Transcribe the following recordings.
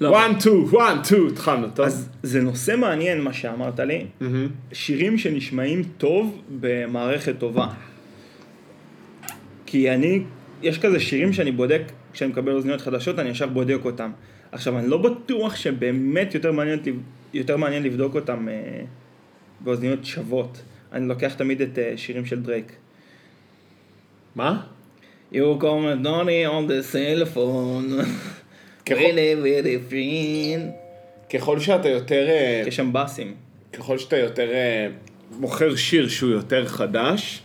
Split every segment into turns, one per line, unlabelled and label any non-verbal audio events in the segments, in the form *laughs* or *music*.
לא,
one two, one two, התחלנו, טוב.
אז זה נושא מעניין מה שאמרת לי, שירים שנשמעים טוב במערכת טובה. כי אני, יש כזה שירים שאני בודק, כשאני מקבל אוזניות חדשות, אני ישר בודק אותם. עכשיו, אני לא בטוח שבאמת יותר מעניין, אותי- יותר מעניין לבדוק אותם אה, באוזניות שוות. אני לוקח תמיד את אה, שירים של דרייק.
מה?
You call me Donny on the cell phone,
ככל-
really really friend.
ככל שאתה יותר, אה,
יש שם באסים.
ככל שאתה יותר אה, מוכר שיר שהוא יותר חדש,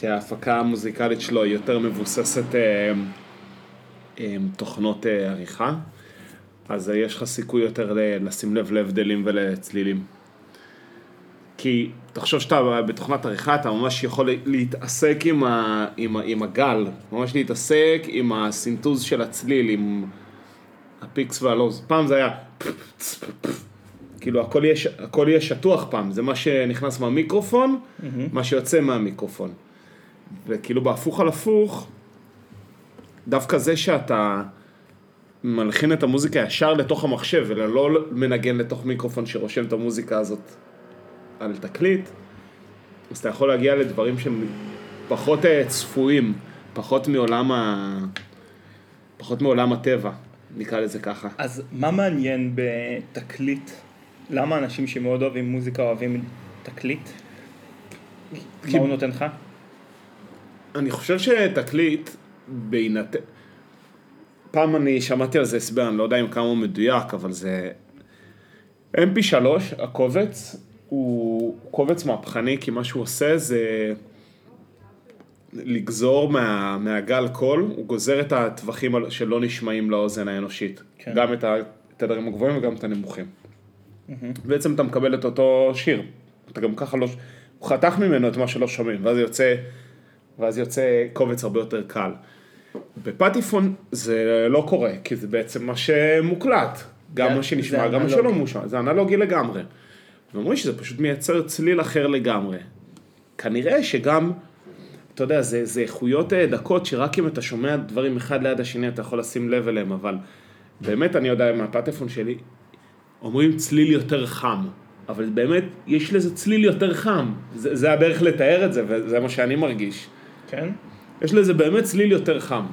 שההפקה המוזיקלית שלו היא יותר מבוססת אה, אה, תוכנות אה, עריכה, אז אה, יש לך סיכוי יותר ל- לשים לב להבדלים ולצלילים. כי תחשוב שאתה בתוכנת עריכה, אתה ממש יכול להתעסק עם, ה, עם, ה, עם הגל, ממש להתעסק עם הסינטוז של הצליל, עם הפיקס והלוז. פעם זה היה... כאילו הכל יהיה, ש- הכל יהיה שטוח פעם, זה מה שנכנס מהמיקרופון, מה שיוצא מהמיקרופון. וכאילו בהפוך על הפוך, דווקא זה שאתה מלחין את המוזיקה ישר לתוך המחשב, אלא לא מנגן לתוך מיקרופון שרושם את המוזיקה הזאת על תקליט, אז אתה יכול להגיע לדברים שהם פחות אה, צפויים, פחות מעולם, ה... פחות מעולם הטבע, נקרא לזה ככה.
אז מה מעניין בתקליט? למה אנשים שמאוד אוהבים מוזיקה אוהבים תקליט? מה הוא נותן לך?
אני חושב שתקליט, בהינתן... פעם אני שמעתי על זה הסבר, אני לא יודע אם כמה הוא מדויק, אבל זה... mp3, הקובץ, הוא קובץ מהפכני, כי מה שהוא עושה זה לגזור מה, מהגל קול, הוא גוזר את הטווחים על- שלא נשמעים לאוזן האנושית.
כן.
כן. גם את התדרים הגבוהים וגם את הנמוכים. בעצם אתה מקבל את אותו שיר. אתה גם ככה לא... הוא חתך ממנו את מה שלא שומעים, ואז יוצא... ואז יוצא קובץ הרבה יותר קל. בפטיפון זה לא קורה, כי זה בעצם מה שמוקלט. גם
זה-
מה
זה
שנשמע, גם מה
אנלוגי.
שלא מושמע, זה אנלוגי לגמרי. ואומרים שזה פשוט מייצר צליל אחר לגמרי. כנראה שגם, אתה יודע, זה, זה איכויות אה, דקות שרק אם אתה שומע דברים אחד ליד השני אתה יכול לשים לב אליהם, אבל באמת אני יודע מהפטפון שלי, אומרים צליל יותר חם, אבל באמת יש לזה צליל יותר חם, זה, זה הדרך לתאר את זה וזה מה שאני מרגיש.
כן?
יש לזה באמת צליל יותר חם.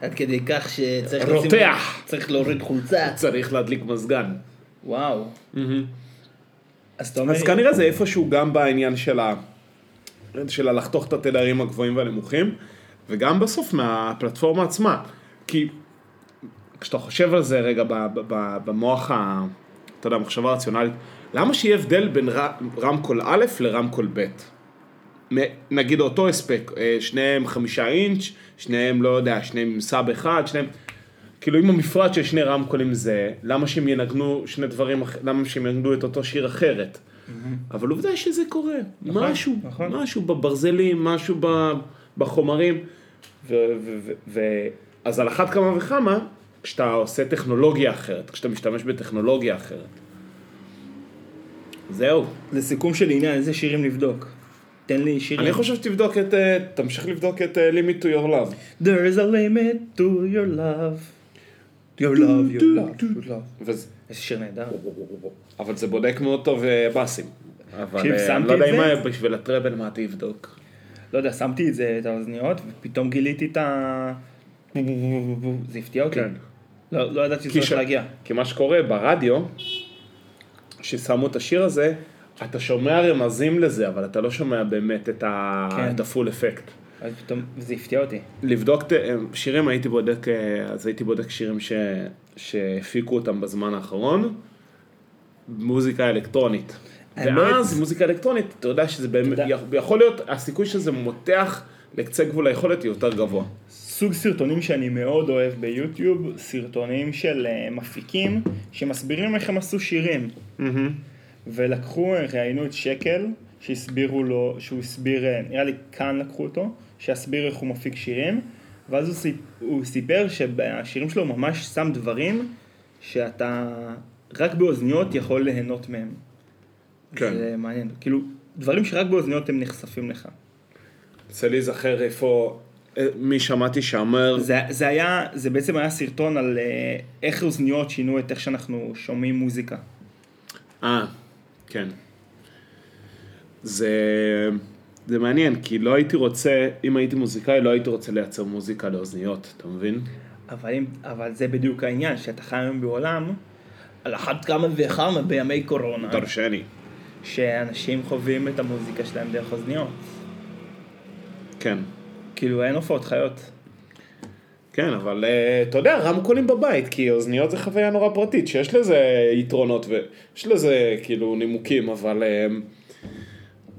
עד כדי כך שצריך
רותח.
צריך להוריד חולצה.
צריך להדליק מזגן.
וואו. אז אתה אומר,
אז כנראה זה איפשהו גם בעניין של ה... של הלחתוך את התדרים הגבוהים והנמוכים, וגם בסוף מהפלטפורמה עצמה. כי כשאתה חושב על זה רגע ב- ב- ב- במוח, ה... אתה יודע, המחשבה הרציונלית, למה שיהיה הבדל בין ר... רמקול א' לרמקול ב'? מ- נגיד אותו הספק, אה, שניהם חמישה אינץ', שניהם לא יודע, שניהם עם סאב אחד, שניהם... כאילו אם המפרט של שני רמקולים זה, למה שהם ינגנו שני דברים, אח- למה שהם ינגנו את אותו שיר אחרת? אבל עובדה שזה קורה, משהו,
נכון.
משהו בברזלים, משהו ב- בחומרים. ו- ו- ו- ו- אז על אחת כמה וכמה, כשאתה עושה טכנולוגיה אחרת, כשאתה משתמש בטכנולוגיה אחרת. זהו.
לסיכום של עניין, איזה שירים לבדוק? תן לי שירים.
אני חושב שתבדוק את, אה, תמשיך לבדוק את אה, Limit to your love.
There is a limit to your love. Your love, your love, your love.
וזה-
איזה שיר נהדר.
אבל זה בודק מאוד טוב אה, באסים. אבל
תקשיב,
אה, אני
שמתי
לא
את
יודע אם
זה?
היה בשביל הטראבל מה תבדוק.
לא יודע, שמתי את זה, את האוזניות, ופתאום גיליתי את *laughs* ה... זה הפתיע אותי.
כן.
לא לא ידעתי שזה
כי
הולך
ש-
להגיע.
כי מה שקורה ברדיו, כששמו את השיר הזה, אתה שומע רמזים לזה, אבל אתה לא שומע באמת את ה-
כן.
את הפול אפקט.
אז פתאום, זה הפתיע אותי.
לבדוק ת- שירים, הייתי בודק, אה, אז הייתי בודק שירים ש- שהפיקו אותם בזמן האחרון, מוזיקה אלקטרונית.
האמת-
ואז מוזיקה אלקטרונית, אתה יודע שזה באמת,
אתה יודע-
יכול להיות, הסיכוי שזה מותח לקצה גבול היכולת היא יותר גבוה.
סוג סרטונים שאני מאוד אוהב ביוטיוב, סרטונים של אה, מפיקים שמסבירים איך הם עשו שירים. ולקחו, אה, ראיינו את שקל, שהסבירו לו, שהוא הסביר, אה, נראה לי כאן לקחו אותו, שהסביר איך הוא מפיק שירים, ואז הוא, סיפ, הוא סיפר שהשירים שלו הוא ממש שם דברים שאתה רק באוזניות יכול ליהנות מהם.
כן.
זה מעניין, כאילו, דברים שרק באוזניות הם נחשפים לך.
רוצה להיזכר איפה, אה, מי שמעתי שאמר,
זה, זה היה, זה בעצם היה סרטון על אה, איך אוזניות שינו את איך שאנחנו שומעים מוזיקה.
אה, כן. זה, זה מעניין, כי לא הייתי רוצה, אם הייתי מוזיקאי, לא הייתי רוצה לייצר מוזיקה לאוזניות, אתה מבין?
אבל, אם, אבל זה בדיוק העניין, שאתה חי היום בעולם, על אחת כמה וכמה בימי קורונה,
דרשני.
שאנשים חווים את המוזיקה שלהם דרך אוזניות.
כן.
כאילו אין הופעות חיות.
כן, אבל אה, אתה יודע, רמקולים בבית, כי אוזניות זה חוויה נורא פרטית, שיש לזה יתרונות ויש לזה כאילו נימוקים, אבל, אה,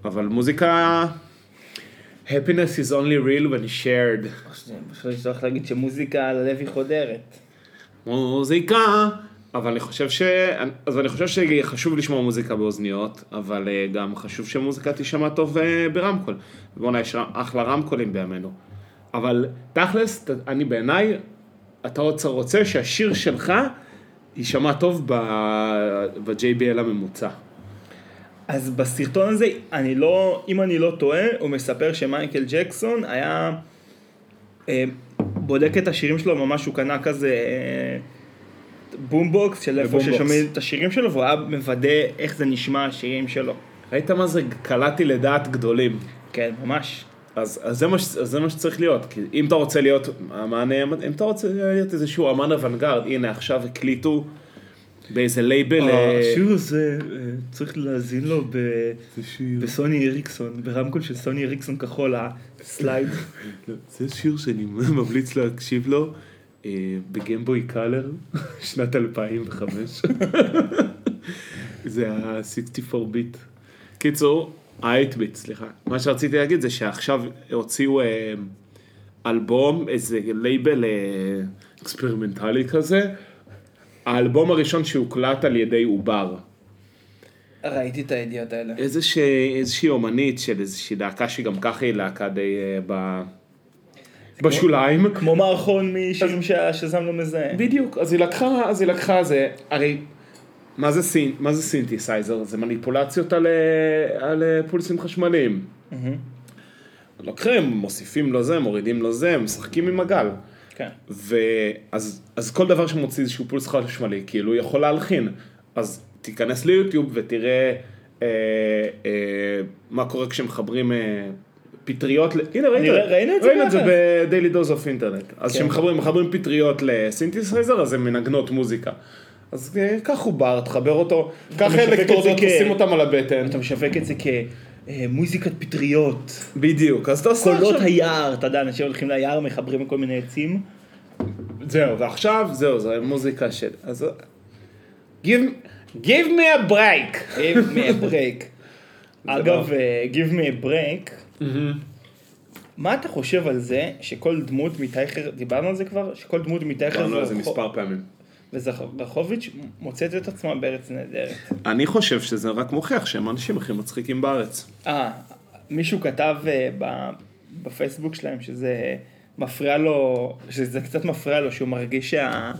אבל מוזיקה... happiness is only real when shared.
פשוט יש צורך להגיד שמוזיקה על הלב היא חודרת.
מוזיקה. אבל אני חושב ש... אז אני חושב שחשוב לשמוע מוזיקה באוזניות, אבל אה, גם חשוב שמוזיקה תישמע טוב אה, ברמקול. בואנה, יש אחלה רמקולים בימינו. אבל תכלס, ת- אני בעיניי, אתה רוצה- רוצה שהשיר שלך יישמע טוב ב- ב-JBL הממוצע.
אז בסרטון הזה, אני לא, אם אני לא טועה, הוא מספר שמייקל ג'קסון היה אה, בודק את השירים שלו, ממש הוא קנה כזה אה, בומבוקס של איפה
בומבוקס.
ששומעים את השירים שלו, והוא היה מוודא איך זה נשמע השירים שלו.
ראית מה זה? קלעתי לדעת גדולים.
כן, ממש.
אז, אז, זה מה, ש- אז זה מה שצריך להיות, כי אם אתה רוצה להיות אמן, אם אתה רוצה להיות איזשהו אמן אוונגרד, הנה עכשיו הקליטו באיזה לייבל, אה,
הזה צריך להאזין לו בסוני אריקסון, ברמקול של סוני אריקסון כחול, הסלייד.
זה שיר שאני *laughs* ממליץ להקשיב לו אה, בגמבוי קלר, *laughs* שנת 2005. *laughs* זה ה-64 ביט. קיצור, ה-8 ביט, סליחה. מה שרציתי להגיד זה שעכשיו הוציאו אה, אלבום, איזה לייבל אה, אקספרימנטלי כזה, האלבום הראשון שהוקלט על ידי עובר.
*laughs* ראיתי את הידיעות האלה.
איזה ש... איזושהי אומנית של איזושהי להקה שגם ככה היא להקה די אה, ב... בשוליים.
כמו מערכון משירים שהשזם לא מזהה.
בדיוק, אז היא לקחה, אז היא לקחה זה, הרי מה זה, סינ... מה זה סינתסייזר? זה מניפולציות על, אה, על אה, פולסים חשמליים. לוקחים, מוסיפים לו זה, מורידים לו זה, משחקים עם הגל.
כן.
ואז אז כל דבר שמוציא איזשהו פולס חשמלי, כאילו יכול להלחין. אז תיכנס ליוטיוב ותראה אה, אה, מה קורה כשמחברים אה, פטריות, ל... הנה ראית,
אני רא- ראינו את זה
ראינו את זה
ביחד.
ב-Daily Dose of Internet. אז
כן.
כשמחברים מחברים פטריות לסינתסייזר, אז הן מנגנות מוזיקה. אז אה, קח עובר, תחבר אותו, קח
משווק את זה
אלקטרודות,
כ-
תשים אותם על הבטן.
אתה משווק את זה כמוזיקת פטריות,
בדיוק, אז אתה עושה
קולות היער, אתה יודע, אנשים הולכים ליער, מחברים כל מיני עצים.
זהו, ועכשיו זהו, זו מוזיקה של... אז... give, give me a break.
Give me a
*laughs*
break.
לא-
אגב, אה, Give me a break,
Mm-hmm.
מה אתה חושב על זה שכל דמות מטייכר, דיברנו על זה כבר, שכל דמות מטייכר
דיברנו על זה
ורחו-
מספר פעמים.
וזרחוביץ' מוצאת את עצמה בארץ נהדרת.
אני חושב שזה רק מוכיח שהם האנשים הכי מצחיקים בארץ.
אה, מישהו כתב אה, ב- בפייסבוק שלהם שזה מפריע לו, שזה קצת מפריע לו, שהוא מרגיש שה...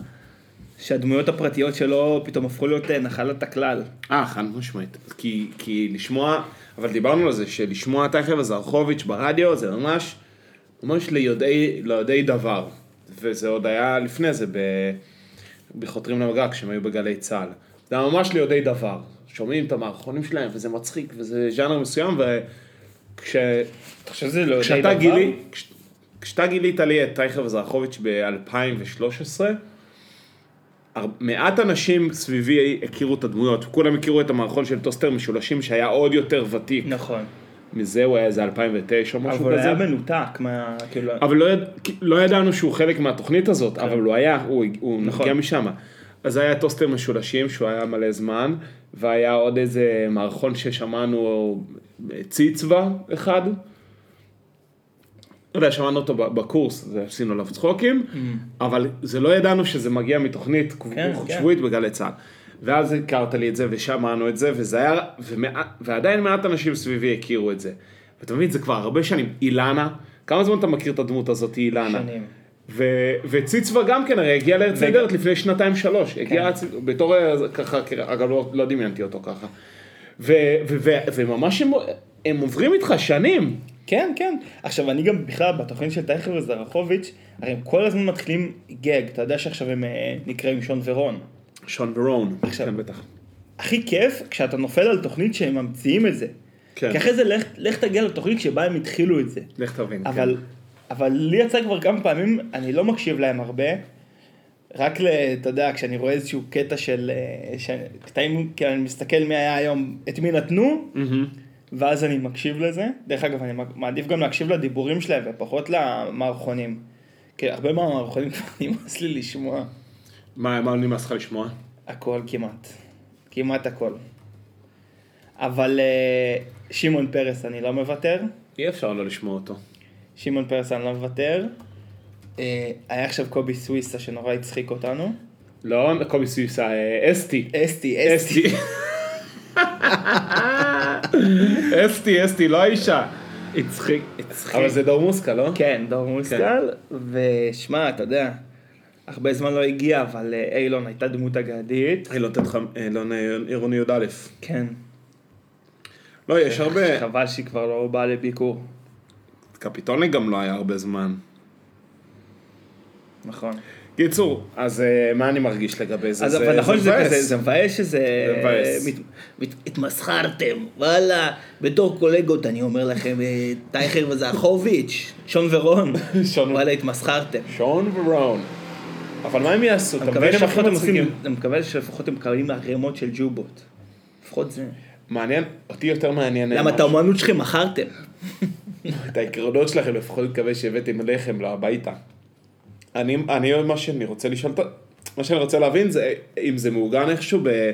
שהדמויות הפרטיות שלו פתאום הפכו להיות אה, נחלת הכלל.
אה, חד משמעית. כי, כי לשמוע, אבל דיברנו על זה, שלשמוע טייכר וזרחוביץ' ברדיו זה ממש, ממש ליודעי, ליודעי דבר. וזה עוד היה לפני זה ב... בחותרים למגע כשהם היו בגלי צה"ל. זה היה ממש ליודעי דבר. שומעים את המערכונים שלהם וזה מצחיק וזה ז'אנר מסוים וכש...
אתה חושב שזה לא יודע
כשאתה גילי, כש- כשאתה גילית לי את טייכר וזרחוביץ' ב-2013, מעט אנשים סביבי הכירו את הדמויות, כולם הכירו את המערכון של טוסטר משולשים שהיה עוד יותר ותיק,
נכון.
מזה הוא היה איזה 2009 או משהו
אבל הוא
כזה,
היה מנותק מה... כאילו...
אבל לא, יד... לא ידענו שהוא חלק מהתוכנית הזאת, אבל הוא היה, הוא, הוא
כן. נכון.
נגיע משם. אז היה טוסטר משולשים שהוא היה מלא זמן, והיה עוד איזה מערכון ששמענו, ציצווה אחד. לא יודע, שמענו אותו ב- בקורס, זה- עשינו עליו צחוקים, אבל זה לא ידענו שזה מגיע מתוכנית
Mm. כן,
קב-
כן.
שבועית בגלי צה"ל. ואז הכרת לי את זה, ושמענו את זה, וזה היה, ומע... ועדיין מעט אנשים סביבי הכירו את זה. ואתה מבין, זה כבר הרבה שנים. אילנה, כמה זמן אתה מכיר את הדמות הזאת, אילנה?
שנים.
ו... וציצווה גם כן, הרי הגיע לארץ נהדרת לפני שנתיים שלוש. הגיע כן. בתור, אה, ככה, כ- אגב, לא, לא דמיינתי אותו ככה. ו- ו- ו- וממש הם, הם עוברים איתך שנים.
כן, כן. עכשיו, אני גם בכלל, בתוכנית של טייכר וזרחוביץ', הרי הם כל הזמן מתחילים גג, אתה יודע שעכשיו הם אה, נקראים שון ורון.
שון ורון,
עכשיו.
כן בטח.
הכי כיף כשאתה נופל על תוכנית שהם ממציאים את זה.
כן.
כי אחרי זה לך, לך תגיע לתוכנית שבה הם התחילו את זה.
לך תבין,
אבל, אבל לי יצא כבר כמה פעמים, אני לא מקשיב להם הרבה, רק, ל, אתה יודע, כשאני רואה איזשהו קטע של... אה, ש- קטעים, כאילו אני מסתכל מי היה היום, את מי נתנו,
כן.
ואז אני מקשיב לזה. דרך אגב, אני מעדיף גם להקשיב לדיבורים שלהם ופחות למערכונים. כי הרבה מהמערכונים כבר נמאס לי לשמוע
כן. מה, מה נמאס לך לשמוע?
הכל כמעט. כמעט הכל. אבל אה, שמעון פרס אני לא מוותר.
אי אפשר לא לשמוע אותו.
שמעון פרס אני לא מוותר. אה, היה עכשיו קובי סוויסה שנורא הצחיק אותנו.
לא, קובי סוויסה, אה, אסתי.
אסתי, אסתי.
אסתי, אסתי, לא האישה. הצחיק.
הצחיק.
אבל זה דור מוסקה, לא?
כן, דור מוסקל.
כן.
ושמע, אתה יודע, הרבה זמן לא הגיע, אבל אה, אילון הייתה דמות אגדית.
אילון תת חם, אילון אה, לא עירוני י"א.
כן.
לא, יש הרבה.
חבל שהיא כבר לא באה לביקור.
קפיטוני גם לא היה הרבה זמן.
נכון.
קיצור, אז אה, מה אני מרגיש לגבי זה?
אז אבל נכון שזה
מבאס.
כזה, זה מבאס שזה... אה,
זה מבאס.
מת- מת- התמסחרתם, וואלה, בתור קולגות אני אומר לכם, אה, טייכר וזרחוביץ', שון ורון,
*laughs* שון-
וואלה התמסחרתם.
שון ורון. אבל מה הם יעשו?
אני
אתה
מקווה
מבין הם הכי
שלפחות הם
מצחיקים.
עושים, אני מקווה שלפחות הם מקבלים ערימות של ג'ובות. לפחות זה.
מעניין, אותי יותר מעניין.
למה
אה,
את האומנות שלכם מכרתם?
את העקרונות שלכם לפחות מקווה שהבאתם לחם הביתה. אני, אני, מה שאני רוצה לשאול, את- מה שאני רוצה להבין זה אם זה מעוגן איכשהו ב,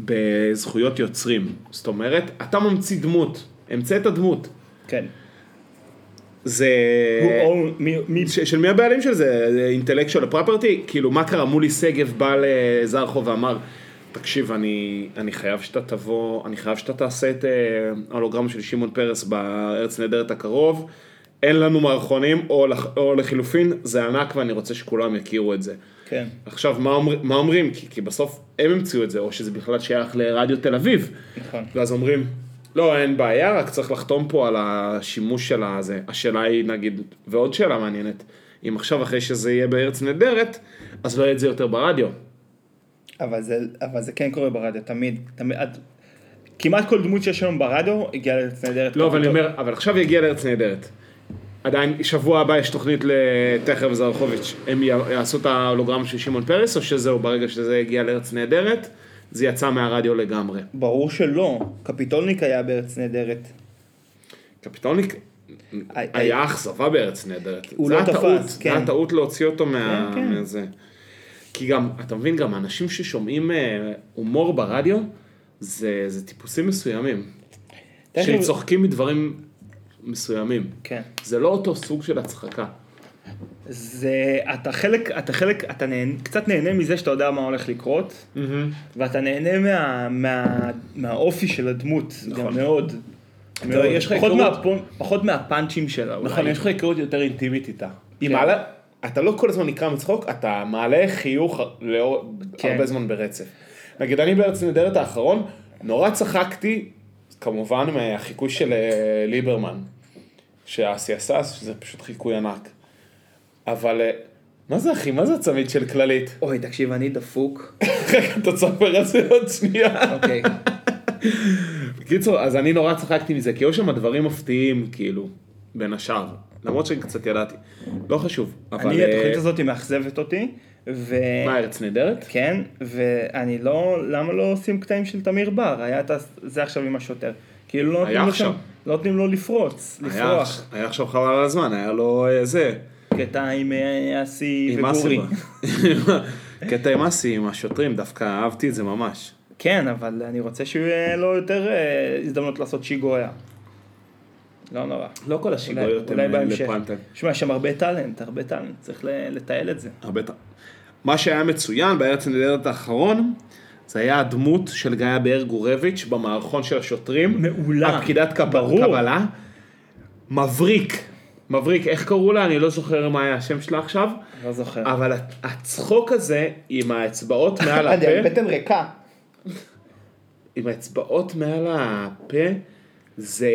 בזכויות יוצרים. זאת אומרת, אתה ממציא דמות, המצאת דמות.
כן.
זה...
אה,
ש, של מי הבעלים של זה? אינטלקטואל פרופרטי? כאילו, מה קרה? מולי שגב בא לזרחו ואמר, תקשיב, אני, אני חייב שאתה תבוא, אני חייב שאתה תעשה את אה, ההולוגרמה של שמעון פרס בארץ נהדרת הקרוב, אין לנו מערכונים, או, לח, או לחילופין, זה ענק ואני רוצה שכולם יכירו את זה.
כן.
עכשיו, מה, אומר, מה אומרים? כי, כי בסוף הם המציאו את זה, או שזה בכלל שייך לרדיו תל אביב.
נכון.
ואז אומרים, לא, אין בעיה, רק צריך לחתום פה על השימוש של הזה. השאלה היא, נגיד, ועוד שאלה מעניינת, אם עכשיו אחרי שזה יהיה בארץ נהדרת, אז לא יהיה את זה יותר ברדיו.
אבל זה, אבל זה כן קורה ברדיו, תמיד. תמיד את, כמעט כל דמות שיש היום ברדיו הגיעה לארץ נהדרת.
לא, אבל אני אומר, אבל עכשיו יגיע לארץ נהדרת. עדיין, שבוע הבא יש תוכנית לטכר וזרחוביץ'. הם י- יעשו את ההולוגרמה של שמעון פרס, או שזהו, ברגע שזה יגיע לארץ נהדרת, זה יצא מהרדיו לגמרי.
ברור שלא, קפיטולניק היה בארץ נהדרת.
קפיטוניק
הי-
היה אכזבה בארץ נהדרת.
הוא
זה
לא
היה
תפס,
טעות,
כן.
זה היה טעות להוציא אותו מה-
כן, כן.
מזה. כי גם, אתה מבין, גם האנשים ששומעים אה, הומור ברדיו, זה זה טיפוסים מסוימים.
תכף-
שצוחקים מדברים מסוימים.
כן.
זה לא אותו סוג של הצחקה.
זה, אתה חלק, אתה חלק, אתה נהנה, קצת נהנה מזה שאתה יודע מה הולך לקרות, ואתה נהנה מה, מה, מהאופי של הדמות, נכון. גם מאוד. מאוד.
יש לך
פחות,
היכרות-
מהפונ- פחות מהפאנצ'ים שלה אולי.
נכון, יש לך היכרות יותר אינטימית איתה. היא
כן.
מעלה, אתה לא כל הזמן נקרע מצחוק, אתה מעלה חיוך לאור-
כן.
הרבה זמן ברצף. נגיד אני בארץ נהדרת האחרון, נורא צחקתי, כמובן מהחיקוי של אה, ליברמן, שאסי עשה, שזה פשוט חיקוי ענק. אבל, אה, מה זה אחי, מה זה הצמיד של כללית? *laughs*
אוי, תקשיב, אני דפוק.
רגע, אתה צופר את זה עוד שנייה. *laughs*
אוקיי.
בקיצור, אז אני נורא צחקתי מזה, כי היו שם דברים מפתיעים, כאילו, בין השאר. למרות שקצת ידעתי. לא חשוב, אבל...
אני,
אה,
התוכנית הזאת היא מאכזבת אותי, ו...
מה, ארץ נהדרת?
כן, ואני לא, למה לא עושים קטעים של תמיר בר? היה את ה- זה עכשיו עם השוטר. כאילו לא נותנים
היה
לו
עכשיו.
שם, לא נותנים לו לפרוץ,
היה
לפרוח.
היה עכשיו חבל על הזמן, היה לו אה, זה.
קטע עם אה, אסי
עם
וגורי.
אסי. *laughs* קטע עם אסי, עם השוטרים, דווקא אהבתי את זה ממש.
כן, אבל אני רוצה שיהיה לו יותר אה, הזדמנות לעשות שיגויה. לא נורא.
לא כל השיגויות
אולי
הן אה,
בהמשך.
לפריים-טיים.
שמע, יש שם הרבה טאלנט, הרבה טאלנט, צריך ל- לתעל את זה.
הרבה ת- מה שהיה מצוין בארץ נהדרת האחרון, זה היה הדמות של גיא באר גורביץ' במערכון של השוטרים.
מעולה.
הפקידת קב-
ברור.
קבלה. מבריק. מבריק, איך קראו לה? אני לא זוכר מה היה השם שלה עכשיו.
לא זוכר.
אבל הצחוק הזה עם האצבעות מעל
*laughs*
הפה.
אני על בטן ריקה.
עם האצבעות מעל הפה, זה...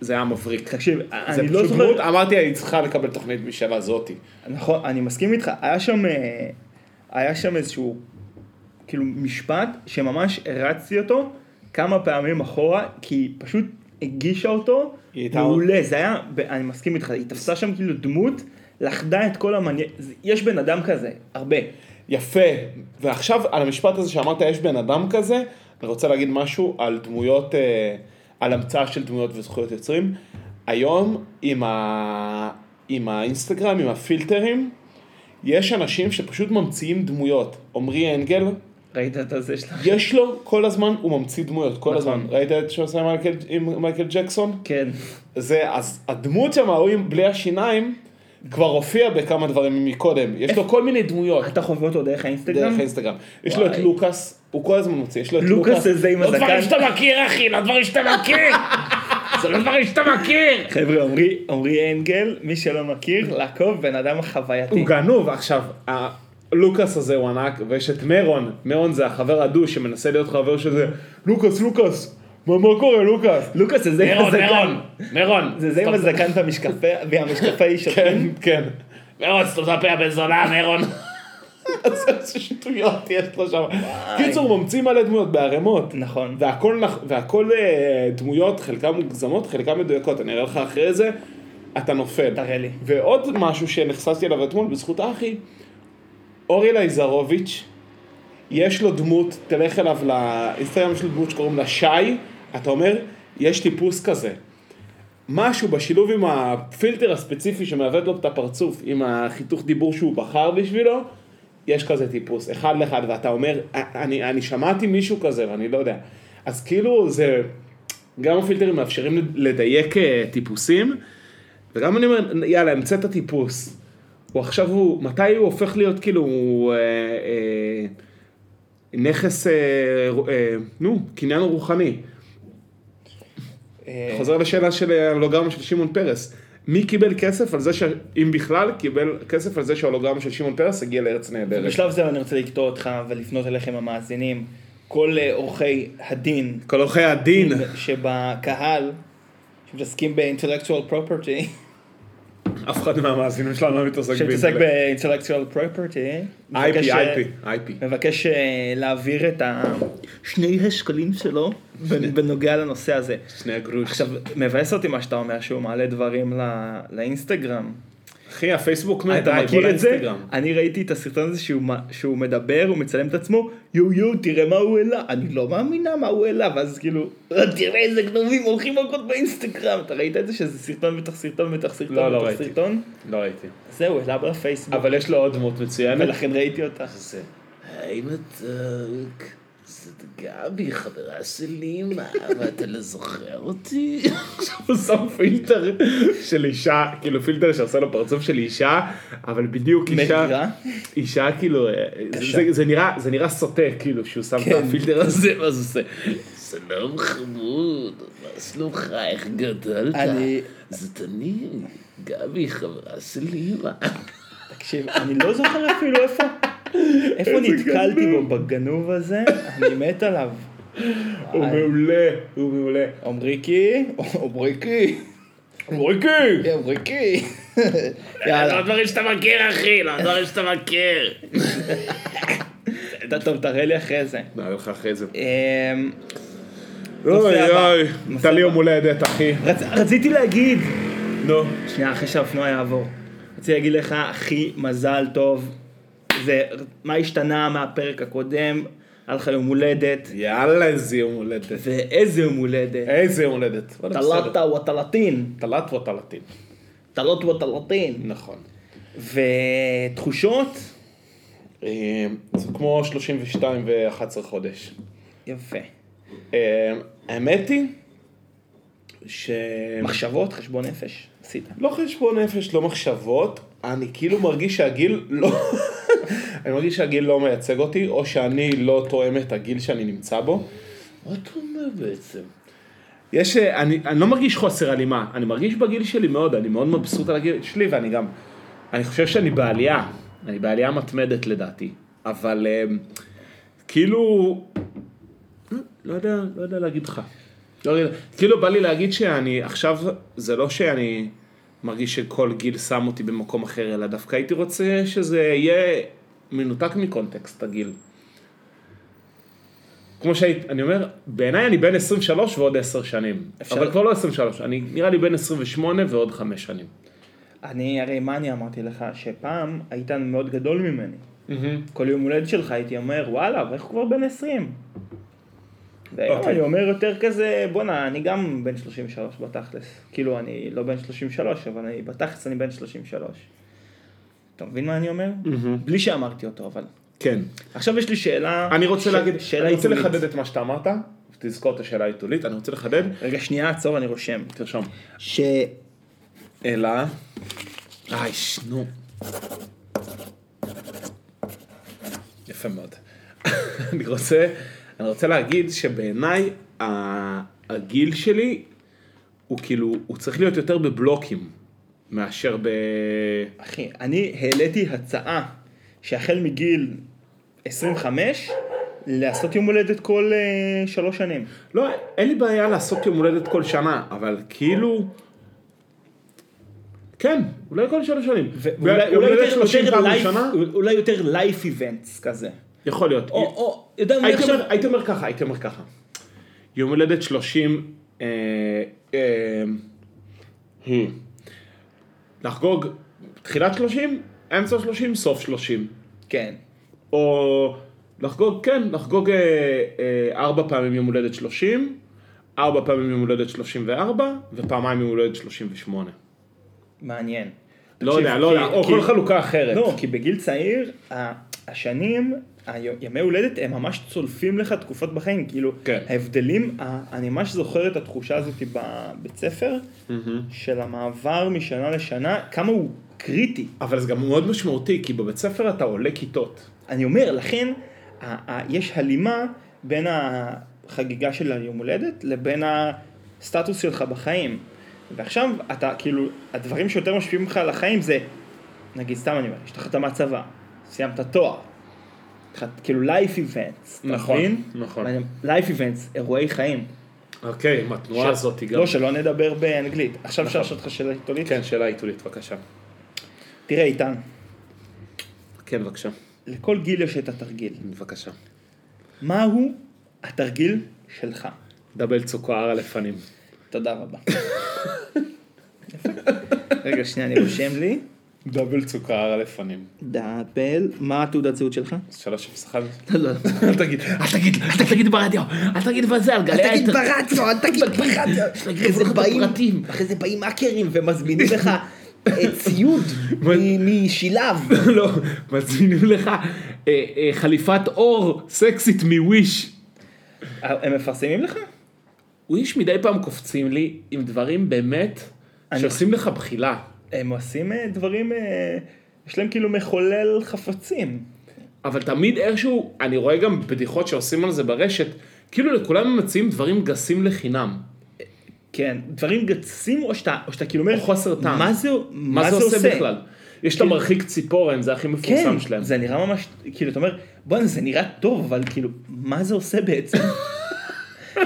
זה היה מבריק.
תקשיב,
זה
אני
פשוט
לא
דמות,
זוכר,
אמרתי, אני צריכה לקבל תוכנית משנה זאתי.
נכון, אני מסכים איתך, היה שם, אה, היה שם איזשהו, כאילו, משפט שממש הרצתי אותו כמה פעמים אחורה, כי היא פשוט הגישה אותו,
היא הייתה-
מעולה, זה היה, ב- אני מסכים איתך, היא תפסה שם כאילו דמות, לכדה את כל המעניין, זה- יש בן אדם כזה, הרבה.
יפה. ועכשיו, על המשפט הזה שאמרת, יש בן אדם כזה, אני רוצה להגיד משהו על דמויות, אה, על המצאה של דמויות וזכויות יוצרים. היום, עם, ה... עם האינסטגרם, עם הפילטרים, יש אנשים שפשוט ממציאים דמויות. עמרי אנגל,
ראית את הזה שלך?
יש לו, כל הזמן הוא ממציא דמויות, כל
נכון.
הזמן. ראית את שהוא עשה עם מייקל, עם מייקל ג'קסון?
כן.
זה, אז הדמות שם, ההוא עם בלי השיניים, כבר הופיע בכמה דברים מקודם. יש לו כל מיני דמויות.
אתה חווה אותו דרך האינסטגרם?
דרך האינסטגרם. יש לו את
וואי.
לוקאס, הוא כל הזמן מוציא, יש לו את
לוקאס הזה עם
לא דברים
הזקן.
שאתה מכיר אחי, לא דברים שאתה מכיר. זה לא דברים שאתה מכיר.
חבר'ה, עמרי- עמרי אנגל, מי שלא מכיר, לעקוב, בן אדם חווייתי.
הוא גנוב עכשיו. ה- לוקאס הזה הוא ענק, ויש את מרון, מרון זה החבר הדו שמנסה להיות חבר של זה, לוקאס, לוקאס, מה מה קורה לוקאס?
לוקאס זה זה עם הזקן.
מרון.
זה זה עם הזקן והמשקפי- *laughs*
כן,
והמשקפי שותים.
כן. מרון, סתום את הפה הבן זונה, מרון. איזה שטויות יש לו שם. קיצור, ממציא מלא דמויות בערימות.
נכון.
והכל, נכ- והכל אה, דמויות, חלקן מוגזמות, חלקן מדויקות, אני אראה לך אחרי זה, אתה נופל.
תראה לי.
ועוד משהו שנחשפתי אליו אתמול, בזכות אחי, אורי לייזרוביץ', יש לו דמות, תלך אליו לאינסטגרם, יש לו דמות שקוראים לה שי, אתה אומר, יש טיפוס כזה. משהו בשילוב עם הפילטר הספציפי שמעוות לו את הפרצוף, עם החיתוך דיבור שהוא בחר בשבילו, יש כזה טיפוס, אחד לאחד, ואתה אומר, "אה, אני, אני שמעתי מישהו כזה ואני לא יודע. אז כאילו זה, גם הפילטרים מאפשרים לדייק אה, טיפוסים, וגם אני אומר, יאללה, המצאת טיפוס. הוא עכשיו, הוא, מתי הוא הופך להיות כאילו, הוא, אה, אה, נכס, אה, רו- אה, נו, קניין רוחני.
אה,
חוזר לשאלה של ההולוגרמה של שמעון פרס. מי קיבל כסף על זה, ש... אם בכלל, קיבל כסף על זה שההולוגרמה של שמעון פרס הגיע לארץ נהדרת.
בשלב זה אני רוצה לקטוע אותך ולפנות אליכם המאזינים, כל אה, עורכי הדין
כל עורכי הדין.
שבקהל, שמתעסקים ב-intellectual *laughs* property,
אף אחד מהמאזינים שלנו לא מתעסק
שמתעסק ב-intellectual property,
IP,
מבקש, אה,
IP, IP.
מבקש אה, להעביר את ה... שני השקלים שלו *laughs* בנוגע לנושא הזה.
שני הגרוש.
עכשיו, מבאס אותי מה שאתה אומר, שהוא מעלה דברים ל- לאינסטגרם.
אחי, הפייסבוק מת,
אה, אתה
אבל
מכיר
כל
את זה?
האינסטגרם.
אני ראיתי את הסרטון הזה שהוא, מ- שהוא מדבר, הוא מצלם את עצמו, יו יו, תראה מה הוא העלה. אני לא מאמינה מה הוא העלה, ואז כאילו, "אה, תראה איזה גנובים הולכים מכות באינסטגרם. אתה ראית את זה שזה סרטון בתוך סרטון בתוך סרטון
לא, לא
בתוך
ראיתי.
סרטון?
לא ראיתי.
זהו, העלה בפייסבוק,
אבל יש לו עוד דמות מצוינת.
ולכן ראיתי אותה.
זה. האם אתה... זאת גבי, חברה שלי, מה, ואתה לא זוכר אותי?
הוא שם פילטר של אישה, כאילו פילטר שעושה לו פרצוף של אישה, אבל בדיוק אישה...
מכירה?
אישה כאילו, אה,
קשה. כן,
זה, זה, נראה, זה נראה סוטה כאילו שהוא שם את הפילטר הזה, ואז הוא עושה,
שלום חמוד, לא מה שלומך, איך גדלת?
אני-
זאת אני, גבי, חברה שלי, מה?
תקשיב, אני לא זוכר אפילו *laughs* איפה, איפה נתקלתי בו בגנוב הזה, אני מת עליו. אה.
הוא מעולה, הוא מעולה.
עומריקי, עומריקי,
ריקי!
עומריקי.
*laughs*
יאללה.
דברים לא שאתה מכיר, אחי, לא דברים שאתה מכיר.
אתה טוב, תראה לי אחרי זה.
נראה לך אחרי זה.
אמ, נושא
אוי
הבא.
אוי,
נושא
הייתה לי
הבא.
יום הולדת אחי.
רצ- רציתי להגיד,
נו.
שנייה, אחרי שהאופנוע יעבור. רציתי להגיד לך, אחי, מזל טוב. זה, מה השתנה מהפרק הקודם? היה לך יום הולדת,
יאללה איזה יום הולדת.
ואיזה יום הולדת.
איזה יום הולדת. וואלה, אה, בסדר.
טלטה וטלטין,
טלת וטלתים.
טלות וטלטין.
נכון.
ותחושות?
אה, זה כמו 32 ו-11 חודש.
יפה.
אה, האמת היא, ש...
מחשבות, חשבון נפש, עשית.
לא חשבון נפש, לא מחשבות, אני כאילו מרגיש שהגיל לא... *laughs* אני מרגיש שהגיל לא מייצג אותי, או שאני לא תואם את הגיל שאני נמצא בו.
מה אתה אומר בעצם?
יש, אה, אני, אני לא מרגיש חוסר הלימה, אני מרגיש בגיל שלי מאוד, אני מאוד מבסוט על הגיל שלי, ואני גם, אני חושב שאני בעלייה, אני בעלייה מתמדת לדעתי, אבל אמ, אה, כאילו, לא יודע, לא יודע להגיד לך. לא יודע, כאילו בא לי להגיד שאני עכשיו, זה לא שאני מרגיש שכל גיל שם אותי במקום אחר, אלא דווקא הייתי רוצה שזה יהיה מנותק מקונטקסט הגיל. כמו שהייתי, אני אומר, בעיניי אני בן 23 ועוד 10 שנים.
אפשר-
אבל כבר לא 23, אני נראה לי בן 28 ועוד 5 שנים.
אני, הרי מה אני אמרתי לך? שפעם היית מאוד גדול ממני. כל יום הולדת שלך הייתי אומר, וואלה, אבל איך הוא כבר בן 20? והיום
אוקיי.
אני אומר יותר כזה, בואנה, אני גם בן 33 בתכלס. כאילו, אני לא בן 33, אבל אני, בתכלס אני בן 33. אתה מבין מה אני אומר? בלי שאמרתי אותו, אבל.
כן.
עכשיו יש לי שאלה...
אני רוצה
ש-
להגיד,
שאלה
אני רוצה
עיתונית.
לחדד את מה שאתה אמרת, תזכור את השאלה העיתולית, אני רוצה לחדד,
רגע, שנייה, עצור, אני רושם.
תרשום.
ש...
אלא... איי, נו. יפה מאוד. *laughs* אני רוצה, אני רוצה להגיד שבעיניי ה- הגיל שלי הוא כאילו, הוא צריך להיות יותר בבלוקים מאשר ב...
אחי, אני העליתי הצעה שהחל מגיל 25, לעשות יום הולדת כל אה, שלוש שנים.
לא, אין לי בעיה לעשות יום הולדת כל שנה, אבל כאילו... כן, אולי כל שלוש שנים.
ואולי
אולי
אולי יותר-
30
יותר
פעם
life-
בשנה?
אולי יותר לייף איבנטס כזה.
יכול להיות.
או, או, יודע מה
הייתי
עכשיו?
אומר, הייתי אומר ככה, הייתי אומר ככה. יום הולדת 30, אה, אה,
Hmm.
הם. לחגוג תחילת 30, אמצע 30, סוף 30.
כן.
או לחגוג, כן, לחגוג אה, אה, ארבע פעמים יום הולדת 30, ארבע פעמים יום הולדת 34, ופעמיים יום הולדת 38.
מעניין.
לא
תקשיב,
יודע, לא יודע,
כי-
או
כי-
כל חלוקה אחרת.
לא, כי בגיל צעיר, ה- השנים, ה- ימי הולדת, הם ממש צולפים לך תקופות בחיים, כאילו,
כן.
ההבדלים, ה- אני ממש זוכר את התחושה הזאת בבית ספר, של המעבר משנה לשנה, כמה הוא קריטי.
אבל זה גם מאוד משמעותי, כי בבית ספר אתה עולה כיתות.
אני אומר, לכן ה- ה- יש הלימה בין החגיגה של היום הולדת לבין הסטטוס שלך בחיים. ועכשיו אתה, כאילו, הדברים שיותר משפיעים לך על החיים זה, נגיד, סתם אני אומר, השתחררת מהצבא, סיימת תואר, התחלת- כאילו life events, אתה
נכון,
מבין?
נכון.
ואני- life events, אירועי חיים.
אוקיי, עם התנועה הזאת היא גם... נכון.
לא, שלא נדבר באנגלית. עכשיו אפשר לשאול אותך שאלה עיתונית?
כן, שאלה עיתולית, בבקשה.
תראה, איתן,
כן, בבקשה.
לכל גיל יש את התרגיל.
בבקשה.
מהו התרגיל שלך?
דאבל צוקר על הפנים.
תודה רבה. רגע, שנייה, אני רושם לי.
דאבל צוקר על הפנים.
דאבל, מה התעודת זהות שלך?
שלוש אפס אחד.
לא,
אל תגיד, אל תגיד, אל תגיד ברדיו, אל תגיד בזה, על גלי
תגיד
האתר.
ברדיו, אל תגיד ברדיו. אחרי זה באים,
הפרטים.
אחרי זה באים האקרים ומזמינים *laughs* לך אה, ציוד מ- משילב.
לא, מזמינים לך אה, אה, חליפת אור סקסית מוויש.
הם מפרסמים לך?
וויש מדי פעם קופצים לי עם דברים באמת
אני-
שעושים לך בחילה.
הם עושים אה, דברים, אה, יש להם כאילו מחולל חפצים.
אבל תמיד איכשהו, אני רואה גם בדיחות שעושים על זה ברשת, כאילו לכולם הם מציעים דברים גסים לחינם.
כן, דברים גסים או שאתה או שאתה כאילו אומר,
או חוסר טעם.
מה זה
מה זה עושה בכלל? יש את
כאילו-
המרחיק ציפורן, זה הכי
כן,
מפורסם שלהם.
זה נראה ממש, כאילו, אתה אומר, בואנה, זה נראה טוב, אבל כאילו, מה זה עושה
*laughs*
בעצם?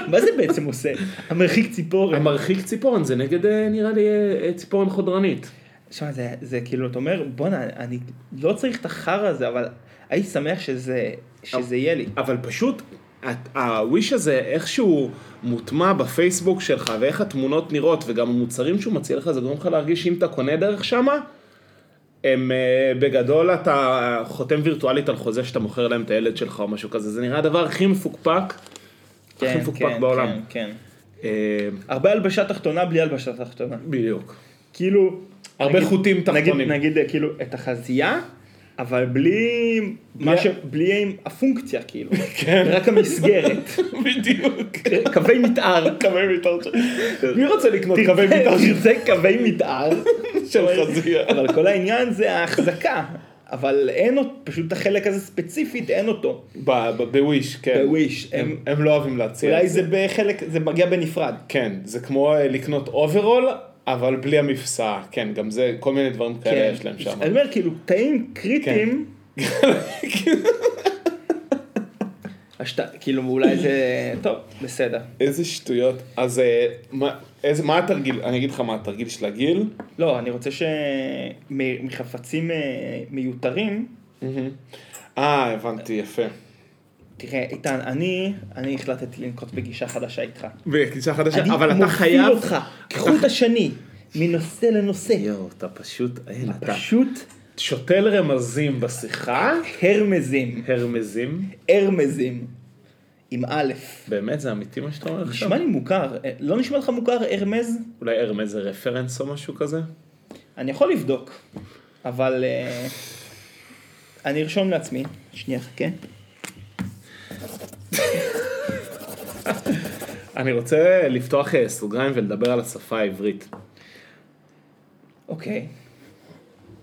מה זה בעצם עושה? המרחיק ציפורן.
המרחיק ציפורן זה נגד, אה, נראה לי, אה, אה, ציפורן חודרנית.
שמע, זה, זה כאילו, אתה אומר, בואנה, אני לא צריך את החרא הזה, אבל הייתי שמח שזה, שזה יהיה לי.
אבל פשוט, ה- הוויש הזה איכשהו מוטמע בפייסבוק שלך, ואיך התמונות נראות, וגם המוצרים שהוא מציע לך, זה גורם לך להרגיש שאם אתה קונה דרך שמה, הם אה, בגדול אתה חותם וירטואלית על חוזה שאתה מוכר להם את הילד שלך או משהו כזה, זה נראה הדבר הכי מפוקפק, הכי מפוקפק בעולם.
כן,
אה,
הרבה הלבשה תחתונה בלי הלבשה תחתונה.
בדיוק.
כאילו...
הרבה
נגיד-
חוטים תחתונים.
נגיד, נגיד, אה, כאילו, את החזייה, אבל בלי... מה ש... בלי עם הפונקציה,
*laughs*
כאילו. כן. רק המסגרת. אה,
בדיוק.
קווי מתאר.
*laughs* קווי מתאר של... מי רוצה לקנות קווי
*laughs*
מתאר של-
תרצה קווי
*laughs*
מתאר,
של חזייה?
אבל כל העניין זה ההחזקה, אבל אין עוד, פשוט את החלק הזה ספציפית אין אותו.
ב- ב- בוויש, כן.
בוויש,
הם-
הם-
הם לא אוהבים להציע.
אולי
את
זה בחלק, זה מגיע בנפרד.
כן, זה כמו אה, לקנות אוברול, אבל בלי המפסע. כן, גם זה, כל מיני דברים כאלה יש להם שם.
כן. אני אומר כאילו, תאים קריטיים. השת... כאילו אולי זה... טוב, בסדר.
איזה שטויות. אז אה, מה- איזה- מה התרגיל? אני אגיד לך מה התרגיל של הגיל.
לא, אני רוצה שמחפצים מיותרים,
אה, הבנתי, יפה.
תראה, איתן, אני, אני החלטתי לנקוט בגישה חדשה איתך.
בקלישה חדשה,
אני
אבל אתה
מוביל
חייב...
אותך, כחוט השני, מנושא לנושא.
יואו, אתה פשוט, אין, אתה
פשוט אה,
שותל רמזים בשיחה,
הרמזים,
הרמזים,
הרמזים, עם א'.
באמת זה אמיתי מה שאתה אומר עכשיו?
נשמע לי מוכר, אה, לא נשמע לך מוכר הרמז?
אולי הרמז זה רפרנס או משהו כזה?
אני יכול לבדוק, אבל אה, אני ארשום לעצמי. שנייה, חכה.
אני רוצה לפתוח אה, סוגריים ולדבר על השפה העברית.
אוקיי.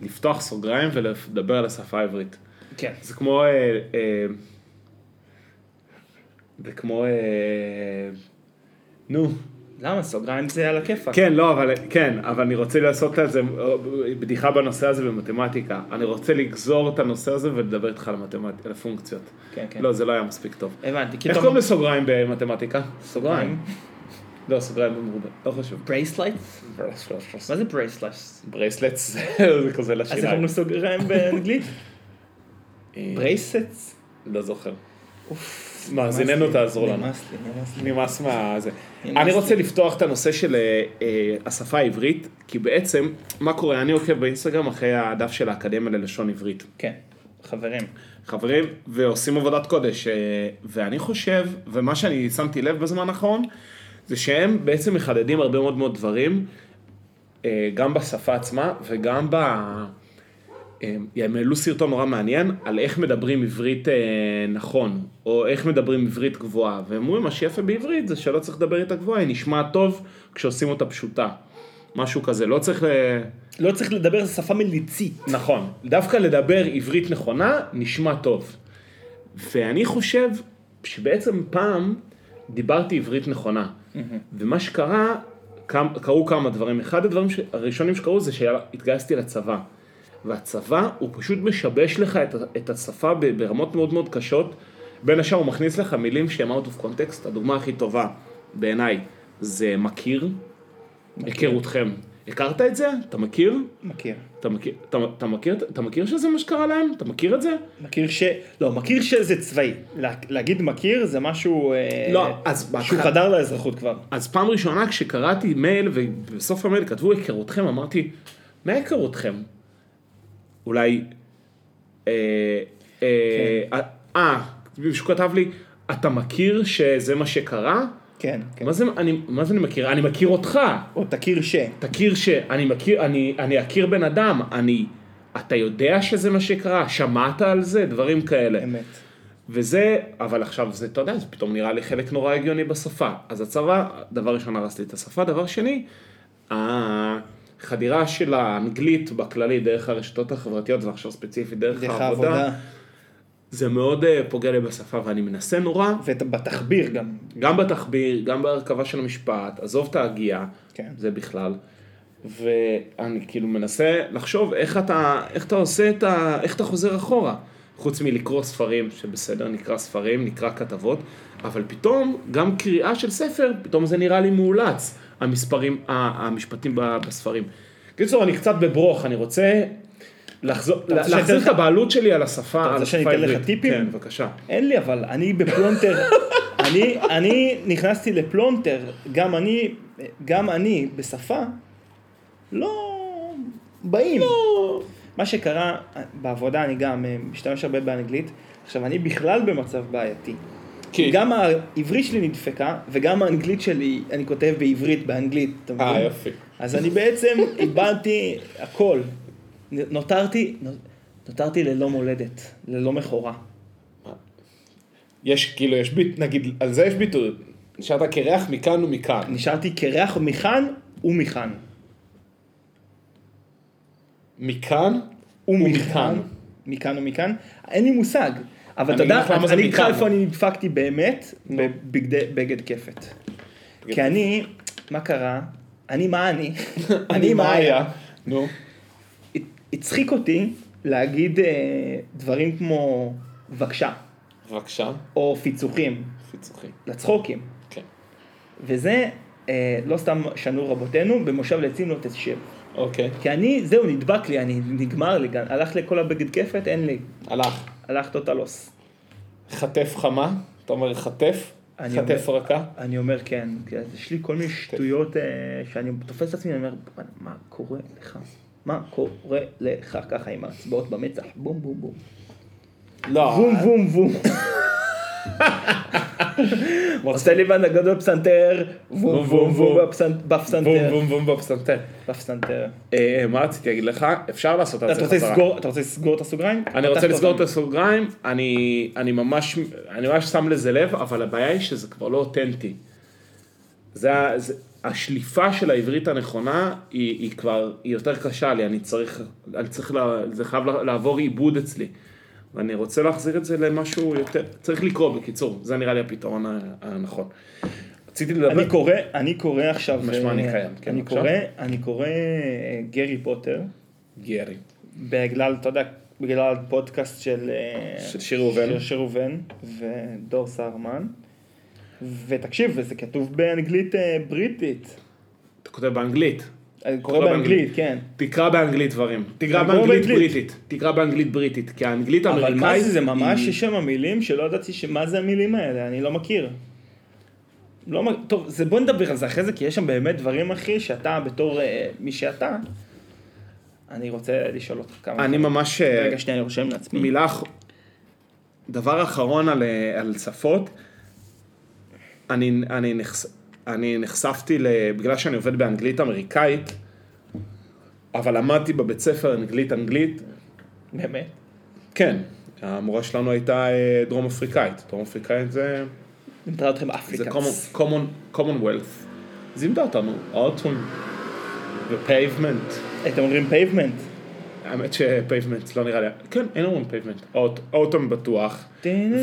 לפתוח סוגריים ולדבר על השפה העברית.
כן.
זה כמו... אה, אה, זה כמו... אה, נו.
למה? סוגריים זה על הכיפאק.
כן, לא, אבל כן, אבל אני רוצה לעשות על זה אה, בדיחה בנושא הזה במתמטיקה. אני רוצה לגזור את הנושא הזה ולדבר איתך על המתמטיקה, על הפונקציות.
כן, כן.
לא, זה לא היה מספיק טוב.
הבנתי.
איך
כאילו-
קוראים לסוגריים במתמטיקה?
סוגריים?
לא, סוגריים במרובה, לא חשוב.
ברייסלייטס? מה זה ברייסלייטס?
ברייסלטס, *laughs* זה כזה
אז איך
לשיניים.
אומרים סוגריים באנגלית? *laughs*
אה,
ברייסטס?
לא זוכר. מאזיננו
נמאס לי,
תעזור לנו.
נמאס לי, נמאס לי.
נמאס מה... זה.
נמאס
אני
לי.
רוצה לפתוח את הנושא של אה, אה, השפה העברית, כי בעצם, מה קורה? אני עוקב באינסטגרם אחרי הדף של האקדמיה ללשון עברית.
כן, חברים.
חברים, ועושים עבודת קודש. אה, ואני חושב, ומה שאני שמתי לב בזמן האחרון, זה שהם בעצם מחדדים הרבה מאוד מאוד דברים, אה, גם בשפה עצמה וגם ב... אה, הם העלו סרטון נורא מעניין על איך מדברים עברית אה, נכון, או איך מדברים עברית גבוהה. והם אומרים, מה שיפה בעברית זה שלא צריך לדבר איתה גבוהה, היא נשמעת טוב כשעושים אותה פשוטה. משהו כזה, לא צריך ל...
לא צריך לדבר, זו שפה מליצית.
נכון, דווקא לדבר עברית נכונה נשמע טוב. ואני חושב שבעצם פעם דיברתי עברית נכונה. ומה שקרה, קם- קרו כמה דברים. אחד הדברים ש- הראשונים שקרו זה שהתגייסתי לצבא. והצבא הוא פשוט משבש לך את, ה- את השפה ב- ברמות מאוד מאוד קשות. בין השאר הוא מכניס לך מילים שהם out of context. הדוגמה הכי טובה בעיניי זה מכיר, היכרותכם. הכרת את זה? אתה מכיר?
מכיר.
אתה מכיר, אתה, אתה, מכיר, אתה מכיר שזה מה שקרה להם? אתה מכיר את זה?
מכיר ש... לא, מכיר שזה צבאי. לה- להגיד מכיר זה משהו... אה,
לא, אז
שהוא
בהתחלה-
חדר לאזרחות כבר.
אז פעם ראשונה כשקראתי מייל, ובסוף המייל כתבו היכרותכם, אמרתי, מה היכרותכם? אולי... אה... אה... אה, אה, מישהו כתב לי, אתה מכיר שזה מה שקרה?
כן, כן.
מה זה אני, מה זה אני מכיר? אני מכיר אותך.
או תכיר ש...
תכיר שאני מכיר, אני, אני אכיר בן אדם, אני... אתה יודע שזה מה שקרה? שמעת על זה? דברים כאלה.
אמת.
וזה, אבל עכשיו זה, אתה יודע, זה פתאום נראה לי חלק נורא הגיוני בשפה. אז הצבא, דבר ראשון הרס לי את השפה, דבר שני, החדירה של האנגלית בכללי דרך הרשתות החברתיות, ועכשיו ספציפית דרך,
דרך
העבודה,
העבודה.
זה מאוד אה, פוגע לי בשפה ואני מנסה נורא,
ובתחביר גם.
גם בתחביר, גם בהרכבה של המשפט, עזוב את ההגייה,
כן.
זה בכלל. ואני כאילו מנסה לחשוב איך אתה, איך אתה עושה את ה... איך אתה חוזר אחורה. חוץ מלקרוא ספרים, שבסדר, נקרא ספרים, נקרא כתבות, אבל פתאום, גם קריאה של ספר, פתאום זה נראה לי מאולץ, המספרים, ה- המשפטים ב- בספרים. קיצור, אני קצת בברוך, אני רוצה לחזור,
רוצה שאני אתן
להחזיר
לך-
את הבעלות שלי על השפה, על
רוצה שאני
השפה
אתן לך
העברית.
טיפים?
כן, בבקשה.
אין לי אבל, אני בפלונטר, *laughs* אני, אני נכנסתי לפלונטר, גם אני, גם אני בשפה, לא באים. לא. מה שקרה בעבודה, אני גם אה, משתמש הרבה באנגלית, עכשיו אני בכלל במצב בעייתי.
כי...
גם העברית שלי נדפקה, וגם האנגלית שלי, אני כותב בעברית, באנגלית, אתה מבין?
אה, יופי.
אז אני בעצם איבדתי הכל. נותרתי, נותרתי ללא מולדת, ללא מכורה.
יש, כאילו, יש ביט, נגיד, על זה יש ביטוי. שאתה קרח מכאן ומכאן.
נשארתי קרח מכאן ומכאן.
מכאן ומכאן.
מכאן ומכאן. אין לי מושג. אבל אתה
אני
יודע,
אגיד לך למה זה
אני אגיד לך
מכאן.
איפה אני נדפקתי באמת, בבגדי- בגד כפת. כי אני, מה קרה? אני מה
*laughs*
אני? אני מה היה?
נו.
הצחיק אותי להגיד אה, דברים כמו בבקשה.
בבקשה,
או פיצוחים,
פיצוחים.
לצחוקים.
כן.
וזה, אה, לא סתם שנו רבותינו, במושב לצים לא תשב.
אוקיי,
כי אני, זהו, נדבק לי, אני, נגמר לי, גם- הלך לכל הבגד כפת, אין לי,
הלך.
הלך טוטלוס.
חטף חמה, אתה אומר חטף,
אני
חטף רכה.
אני אומר כן, כי אז יש לי כל מיני שטויות אה, שאני תופס את עצמי, אני אומר, "מה- מה קורה לך? מה קורה לך ככה עם האצבעות במצח? בום בום בום.
לא,
בום
אה. *laughs*
בום בום. עושה לי בן הגדול פסנתר, בום בום בום בפסנ-
בום
בפסנתר.
בום בום בפסנתר.
בפסנתר.
אה, מה רציתי להגיד לך? אפשר לעשות על
אתה
זה
רוצה
חזרה.
לסגור- אתה רוצה לסגור את הסוגריים?
אני רוצה
פתחת
לסגור את
אותם.
הסוגריים, אני, אני ממש, אני ממש שם לזה לב, אבל הבעיה היא שזה כבר לא אותנטי. זה, ה- זה, השליפה של העברית הנכונה היא, היא כבר, היא יותר קשה לי, אני צריך, אני צריך, לה, זה חייב לה- לעבור עיבוד אצלי. ואני רוצה להחזיר את זה למשהו יותר, צריך לקרוא בקיצור, זה נראה לי הפתרון ה- הנכון. רציתי לדבר,
אני קורא, אני קורא עכשיו, אה,
משמע אני חייב, כן,
אני
בבקשה.
קורא, אני קורא אה, גרי פוטר,
גרי,
בגלל, אתה יודע, בגלל הפודקאסט של אה,
של שיר ראובן.
של שיר ראובן ודור סהרמן, ותקשיב, וזה כתוב באנגלית אה, בריטית,
אתה כותב באנגלית,
אני
קורא
קורא באנגלית,
באנגלית.
כן,
תקרא באנגלית דברים, תקרא
תקרא
באנגלית
באנגלית.
בריטית, תקרא באנגלית בריטית, כי האנגלית האמריקאית
אבל מה זה, זה ממש,
היא-
יש שם מילים שלא ידעתי שמה זה המילים האלה, אני לא מכיר. לא, מ- טוב, זה בוא נדבר על זה אחרי זה, כי יש שם באמת דברים, אחי, שאתה בתור אה, מי שאתה, אני רוצה לשאול אותך כמה...
אני ממש... אה,
רגע, שנייה, אני רושם לעצמי.
מילה... אח- דבר אחרון על, אה, על שפות. אני, אני, נחש, אני נחשפתי, ל, בגלל שאני עובד באנגלית אמריקאית, אבל למדתי בבית ספר אנגלית אנגלית,
באמת?
כן, המורה שלנו הייתה אה, דרום אפריקאית, דרום אפריקאית זה,
אני מתאר אתכם
זה
אפריקאנס.
common- common- commonwealth, זימדה אותנו, אוטון ופייבמנט,
אתם אומרים פייבמנט.
האמת שפייבמנט לא נראה לי, כן, אין אומרים פייבמנט, אוטון בטוח,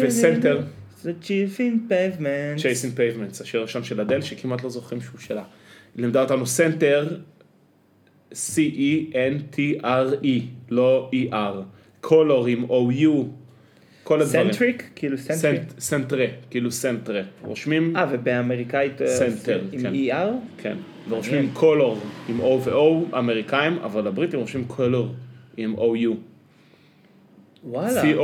וסנטר.
זה צ'יפין פייבמנט.
Chasing Pavements, השיר הראשון של אדל, שכמעט לא זוכרים שהוא שלה. היא לימדה אותנו סנטר, E C-E-N-T-R-E, לא E-R. קולורים, O-U, כל הדברים.
סנטריק? כאילו סנטריק.
סנט- סנטרה, כאילו סנטרה. רושמים,
אה, ובאמריקאית... אה,
סנטר,
עם
כן.
ER?
כן, ורושמים קולור עם O ו-O, אמריקאים, אבל הבריטים רושמים קולור עם O-U.
וואלה. מעניין.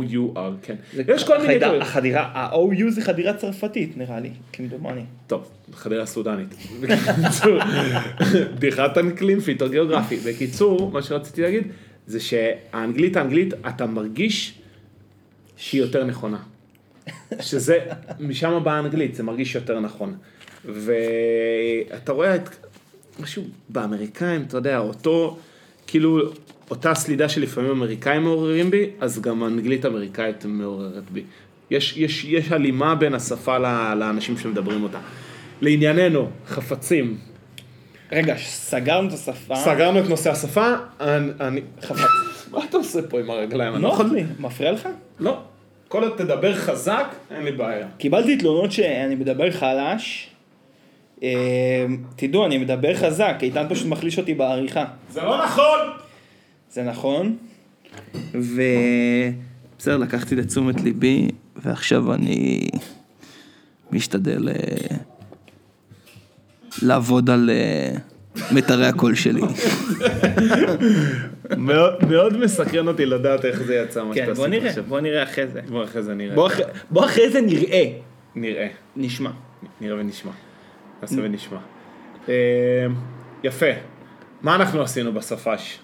C-O-L-O-U-R, כן.
זה
יש כל מיני...
החדירה-
דברים.
החדירה, ה-OU זה חדירה צרפתית נראה לי, כמדומני.
טוב, חדרה *laughs* סודנית. בקיצור, בדיחת אנקלים, פיטוגרפי. בקיצור, מה שרציתי להגיד, זה שהאנגלית האנגלית, אתה מרגיש שהיא יותר נכונה. שזה, משם באה האנגלית, זה מרגיש יותר נכון. ואתה רואה את משהו באמריקאים, אתה יודע, אותו, כאילו, אותה סלידה שלפעמים אמריקאים מעוררים בי, אז גם האנגלית האמריקאית מעוררת בי. יש, יש, יש הלימה בין השפה ל- לאנשים שמדברים אותה. לענייננו, חפצים.
רגע, סגרנו את השפה.
סגרנו את נושא השפה, אני... אני...
חפץ.
*laughs* מה אתה עושה פה עם הרגליים? אני לא
נוח
יכול...
לי, מפריע לך?
לא. כל עוד תדבר חזק, אין לי בעיה.
קיבלתי תלונות שאני מדבר חלש. אה, תדעו, אני מדבר חזק, איתן פשוט מחליש אותי בעריכה.
זה לא נכון!
זה נכון. ו... בסדר, לקחתי לתשומת ליבי, ועכשיו אני משתדל אה, לעבוד על אה, מיתרי הקול שלי.
מאוד, מאוד מסקרן אותי לדעת איך זה יצא, מה שאתה
כן, בוא
עשית
נראה,
עכשיו.
בוא נראה אחרי זה.
בוא אחרי זה נראה.
בוא אחרי- בוא אחרי זה נראה.
נראה.
נשמע.
נראה ונשמע. נעשה ונשמע. אה, יפה. מה אנחנו עשינו בסופש?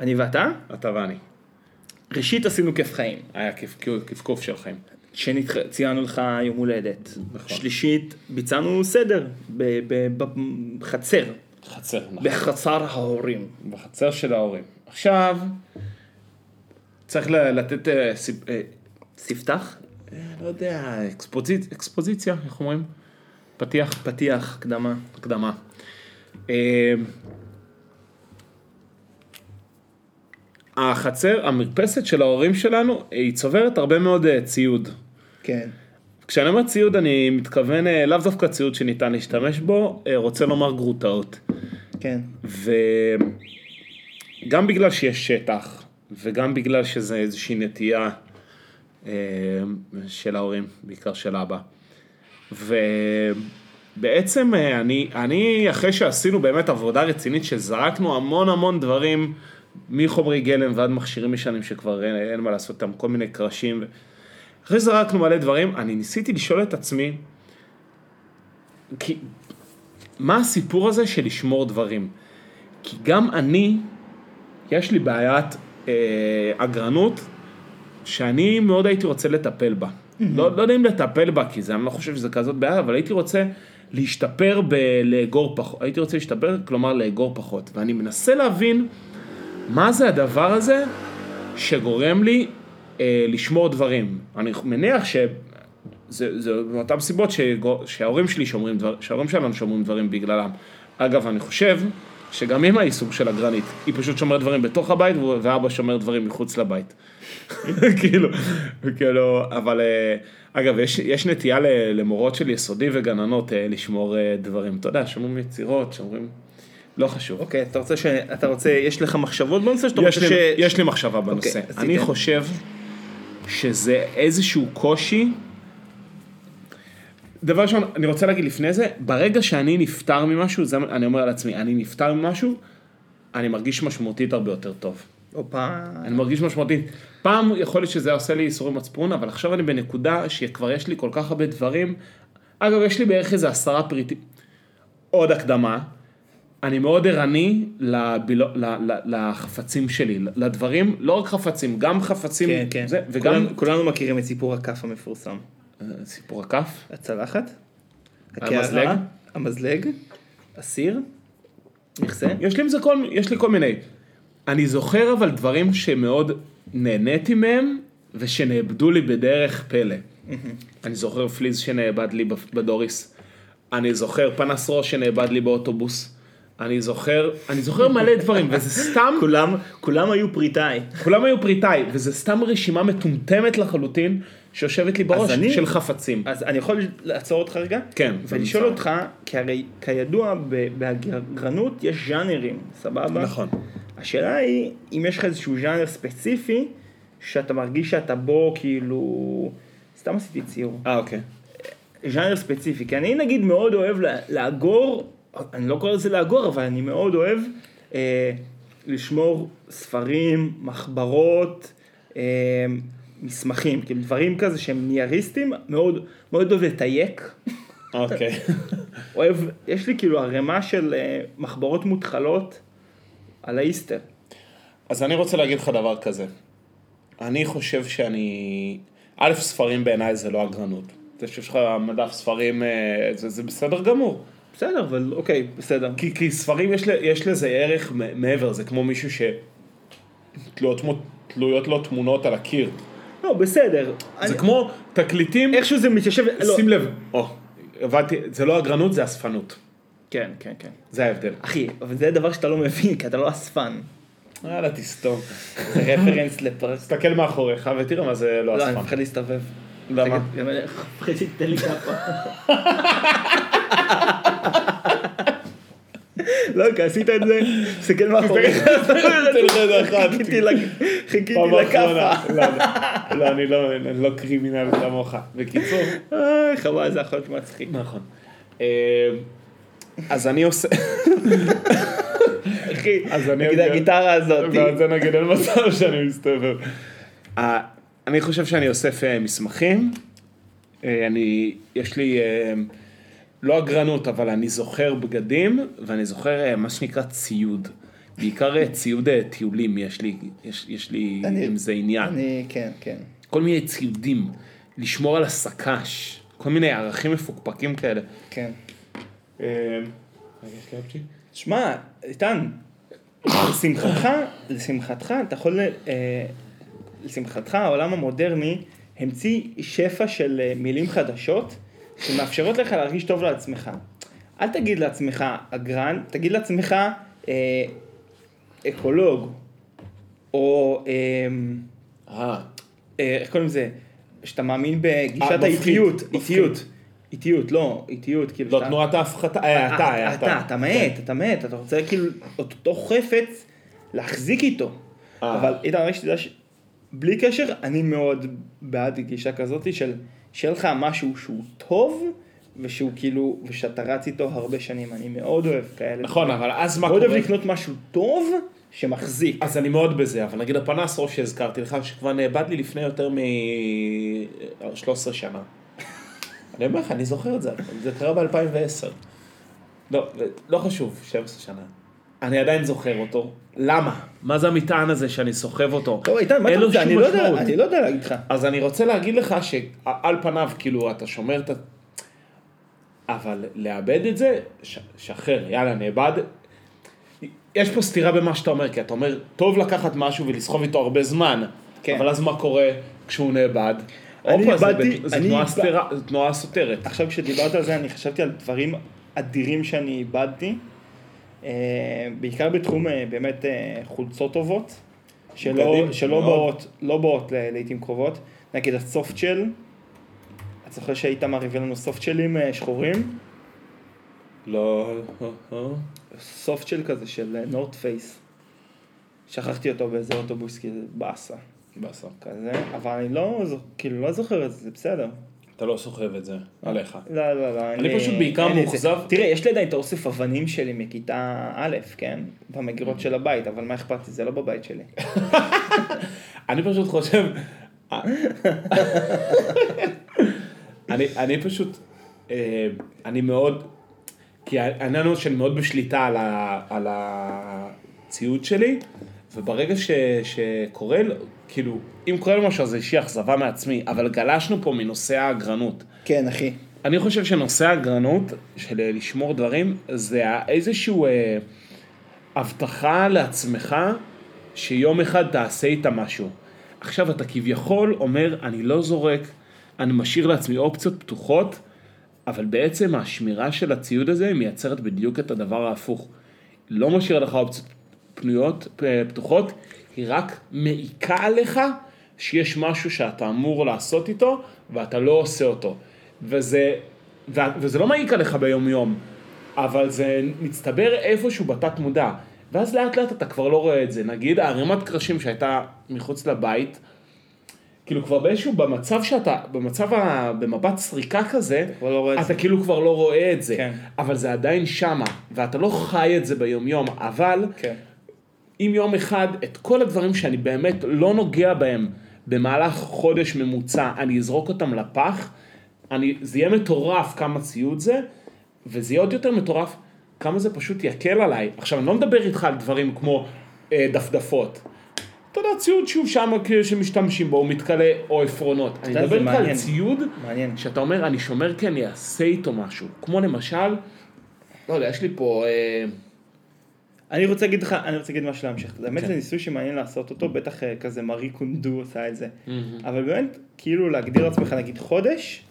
אני ואתה?
אתה ואני.
ראשית עשינו כיף חיים,
היה קפקוף- קפקוף של חיים.
שציינו לך יום הולדת. שלישית, ביצענו סדר ב- ב- ב- בחצר,
חצר, נכון.
בחצר ההורים.
בחצר של ההורים. עכשיו, צריך ל- לתת, אה, סיב- אה,
ספתח?
לא יודע, אקספוזיצ- אקספוזיציה, איך אומרים? פתיח.
פתיח, הקדמה.
הקדמה. אה, החצר, המרפסת של ההורים שלנו, היא צוברת הרבה מאוד אה, ציוד.
כן.
כשאני אומר ציוד, אני מתכוון אה, לאו דווקא ציוד שניתן להשתמש בו, אה, רוצה לומר גרוטאות.
כן.
וגם בגלל שיש שטח, וגם בגלל שזה איזושהי נטייה אה, של ההורים, בעיקר של אבא. ובעצם אה, אני, אני, אחרי שעשינו באמת עבודה רצינית, שזרקנו המון המון דברים, מחומרי גלם ועד מכשירים ישנים שכבר אין, אין מה לעשות איתם, כל מיני קרשים. אחרי שזרקנו מלא דברים, אני ניסיתי לשאול את עצמי, כי, מה הסיפור הזה של לשמור דברים? כי גם אני, יש לי בעיית אה, אגרנות, שאני מאוד הייתי רוצה לטפל בה. לא, לא יודע אם לטפל בה, כי זה, אני לא חושב שזה כזאת בעיה, אבל הייתי רוצה להשתפר בלאגור פחות, הייתי רוצה להשתפר, כלומר לאגור פחות. ואני מנסה להבין מה זה הדבר הזה שגורם לי אה, לשמור דברים. אני מניח ש... זה, זה מאותן סיבות שגו- שההורים שלי שומרים דברים, שההורים שלנו שומרים דברים בגללם. אגב, אני חושב שגם אמא היא סוג של אגרנית, היא פשוט שומרת דברים בתוך הבית והוא- ואבא שומר דברים מחוץ לבית. *laughs* כאילו, כאילו, אבל אה, אגב, יש, יש נטייה ל- למורות של יסודי וגננות אה, לשמור אה, דברים, אתה יודע, שומרים יצירות, שומרים, לא חשוב.
אוקיי, אתה רוצה ש... אתה רוצה, יש לך מחשבות בנושא שאתה
יש
רוצה
לי,
ש...
יש לי מחשבה בנושא.
אוקיי, אז
אני
תיתן.
חושב שזה איזשהו קושי. דבר ראשון, אני רוצה להגיד לפני זה, ברגע שאני נפטר ממשהו, זה, מה- אני אומר על עצמי, אני נפטר ממשהו, אני מרגיש משמעותית הרבה יותר טוב.
הופה.
אני מרגיש משמעותית. פעם יכול להיות שזה עושה לי איסורי מצפון, אבל עכשיו אני בנקודה שכבר יש לי כל כך הרבה דברים. אגב, יש לי בערך איזה עשרה פריטים. עוד הקדמה, אני מאוד ערני לביל... ל... ל... לחפצים שלי, לדברים, לא רק חפצים, גם חפצים,
כן, כן.
זה, וגם
כולנו- כולנו מכירים את סיפור הכף המפורסם.
אה, סיפור הכף,
הצלחת? הקערה,
המזלג?
המזלג? הסיר? מכסה?
יש לי עם זה כל, יש לי כל מיני. אני זוכר אבל דברים שמאוד נהניתי מהם, ושנאבדו לי בדרך פלא. אני זוכר פליז שנאבד לי בדוריס. אני זוכר פנס ראש שנאבד לי באוטובוס. אני זוכר, אני זוכר מלא *laughs* דברים, וזה סתם,
כולם, כולם היו פריטאי.
כולם היו פריטאי, וזה סתם רשימה מטומטמת לחלוטין, שיושבת לי בראש,
אני-
של חפצים.
אז אני יכול לעצור אותך רגע?
כן,
ולשאול
במצב.
אותך, כי הרי כידוע ב- בהגרנות יש ז'אנרים, סבבה?
נכון.
השאלה היא, אם יש לך איזשהו ז'אנר ספציפי, שאתה מרגיש שאתה בו כאילו... סתם עשיתי ציור.
אה, אוקיי.
ז'אנר ספציפי, כי אני נגיד מאוד אוהב לה- לאגור, אני לא קורא לזה לאגור, אבל אני מאוד אוהב אה, לשמור ספרים, מחברות, אה, מסמכים, כאילו דברים כזה שהם נייריסטים, מאוד, מאוד אוהב לתייק,
אוקיי. *laughs*
אוהב, יש לי כאילו ערימה של אה, מחברות מותחלות על האיסטר.
אז אני רוצה להגיד לך דבר כזה. אני חושב שאני... א', ספרים בעיניי זה לא אגרנות. זה שיש לך מדף ספרים, אה, זה, זה בסדר גמור.
בסדר, אבל אוקיי, בסדר.
כי, כי ספרים יש, ל- יש לזה ערך מ- מעבר, זה כמו מישהו ש... תלויות, מו- תלויות לו תמונות על הקיר.
לא, בסדר.
זה
אני-
כמו תקליטים,
איכשהו זה מתיישב, לא.
שים לב. או, הבנתי, זה לא אגרנות, זה אספנות.
כן, כן, כן.
זה ההבדל.
אחי, אבל זה דבר שאתה לא מבין, כי אתה לא אספן.
יאללה,
*laughs*
תסתום.
זה רפרנס לפרס.
תסתכל מאחוריך ותראה מה זה לא
לא, אני
אספן.
מפחד להסתובב.
למה?
תגיד, גם אני מפחד שתיתן לי כפה. לא, כי עשית את זה, תסתכל מאחורי.
תן לך את האחת.
חיכיתי לק- חיכיתי
פעם
לכאפה.
אחרונה. לא, לא, לא, אני לא, אני לא קרימינל כמוך. בקיצור.
אה, חבל, זה יכול להיות מצחיק.
נכון. אה, אז אני עושה,
אחי,
אז אני
נגיד
יודע-
הגיטרה הזאת.
ועל זה נגיד אין מצב שאני מסתובב. אה, אני חושב שאני אוסף אה, מסמכים. אה, אני, יש לי, אה, לא אגרנות, אבל אני זוכר בגדים, ואני זוכר אה, מה שנקרא ציוד. בעיקר אה, ציוד אה, טיולים יש לי, יש, יש לי
אני-
עם זה עניין.
אני, כן, כן.
כל מיני ציודים, לשמור על הסק"ש, כל מיני ערכים מפוקפקים כאלה.
כן.
אה, יש לי עוד שי?
שמע, איתן, לשמחתך, לשמחתך, אתה יכול, אה, לשמחתך, העולם המודרני המציא שפע של אה, מילים חדשות שמאפשרות לך להרגיש טוב לעצמך. אל תגיד לעצמך אגרן, תגיד לעצמך אה, אקולוג, או אה,
אה,
אה, איך קוראים לזה, שאתה מאמין בגישת
מפחיד,
האיטיות,
מפחיד.
איטיות, איטיות, לא, איטיות, כאילו,
לא
שאתה-
תנועת ההפחתה, אה, אתה, אה,
אתה, אתה מאט, אתה מאט, אתה רוצה כאילו את אותו חפץ להחזיק איתו.
אה.
אבל איתן, רק שתדע ש... בלי קשר, אני מאוד בעד גישה כזאת של שיהיה לך משהו שהוא טוב, ושהוא כאילו, ושאתה רץ איתו הרבה שנים, אני מאוד אוהב כאלה.
נכון, אה, אבל אז מה
מאוד
קורה?
אוהב לקנות משהו טוב שמחזיק.
אז אני מאוד בזה, אבל נגיד הפנס ראש שהזכרתי לך, שכבר נאבד לי לפני יותר מ-13 שנה. אני אומר לך, אני זוכר את זה, זה קרה ב-2010. לא, לא חשוב, 12 שנה. אני עדיין זוכר אותו. למה? מה זה המטען הזה שאני סוחב אותו?
טוב, איתן, מה
אין
אתה
לו
רוצה?
שום
אני לא יודע,
משמעות.
אני לא יודע להגיד לך.
אז אני רוצה להגיד לך שעל פניו, כאילו, אתה שומר את ה... אבל לאבד את זה, ש- שחרר, יאללה, נאבד. יש פה סתירה במה שאתה אומר, כי אתה אומר, טוב לקחת משהו ולסחוב איתו הרבה זמן,
כן.
כן. אבל אז מה קורה כשהוא נאבד?
אני
הופה, זה
איבדתי-
בת- זה
אני
תנועה
איבד-
סתירה- זה תנועה סותרת.
עכשיו כשדיברת על זה אני חשבתי על דברים אדירים שאני איבדתי, אה, בעיקר בתחום אה, באמת אה, חולצות טובות, שלא,
בגדים,
שלא
מאוד.
באות, לא באות ל- לעיתים קרובות, נגיד הסופטשל, אתה זוכר שאיתמר הביא לנו סופטשלים אה, שחורים?
לא...
סופטשל כזה של נורט פייס, שכחתי אותו באיזה אוטובוס כי זה באסה.
בסדר.
כזה, אבל אני לא, זוכ- כאילו לא זוכר את זה, זה בסדר.
אתה לא סוחב את זה, עליך.
לא, לא, לא.
אני פשוט בעיקר
אין לי את זה.
מאוכזב.
תראה, יש לי עדיין את האוסף אבנים שלי מכיתה א', כן? במגירות של הבית, אבל מה אכפת לי? זה לא בבית שלי.
אני פשוט חושב... אני, אני פשוט, אה, אני מאוד, כי העניין הוא שאני מאוד בשליטה על, ה, על הציוד שלי, וברגע ש, שקורה, לו- כאילו, אם קורה לו משהו אז זה אישי אכזבה מעצמי, אבל גלשנו פה מנושא האגרנות.
כן, אחי.
אני חושב שנושא האגרנות של אה, לשמור דברים, זה ה- איזשהו אה, הבטחה לעצמך שיום אחד תעשה איתה משהו. עכשיו אתה כביכול אומר, אני לא זורק, אני משאיר לעצמי אופציות פתוחות, אבל בעצם השמירה של הציוד הזה מייצרת בדיוק את הדבר ההפוך. היא לא משאירה לך אופציות פנויות, אה, פתוחות, היא רק מעיקה עליך שיש משהו שאתה אמור לעשות איתו ואתה לא עושה אותו. וזה, ו- וזה לא מעיק עליך ביום יום, אבל זה מצטבר איפשהו בתת מודע. ואז לאט לאט אתה כבר לא רואה את זה. נגיד הערימת קרשים שהייתה מחוץ לבית, כאילו כבר באיזשהו, במצב שאתה, במצב, ה, במבט סריקה כזה,
כבר לא רואה את
אתה
זה.
כאילו כבר לא רואה את זה.
כן.
אבל זה עדיין שמה, ואתה לא חי את זה ביומיום, אבל
כן.
אם יום אחד את כל הדברים שאני באמת לא נוגע בהם במהלך חודש ממוצע, אני אזרוק אותם לפח, אני, זה יהיה מטורף כמה ציוד זה, וזה יהיה עוד יותר מטורף כמה זה פשוט יקל עליי. עכשיו, אני לא מדבר איתך על דברים כמו אה, דפדפות. אתה יודע, ציוד שהוא שם כאילו, שמשתמשים בו, הוא מתכלה או עפרונות. אני
יודע, זה
מדבר איתך על
מעניין.
ציוד
מעניין.
שאתה אומר, אני שומר כי אני אעשה איתו משהו. כמו למשל, לא יודע, יש לי פה... אה,
אני רוצה להגיד לך, אני רוצה להגיד משהו להמשיך. זה באמת זה ניסוי שמעניין לעשות אותו, בטח אה, כזה מארי קונדו עושה את זה. אבל באמת, כאילו להגדיר לעצמך נגיד חודש,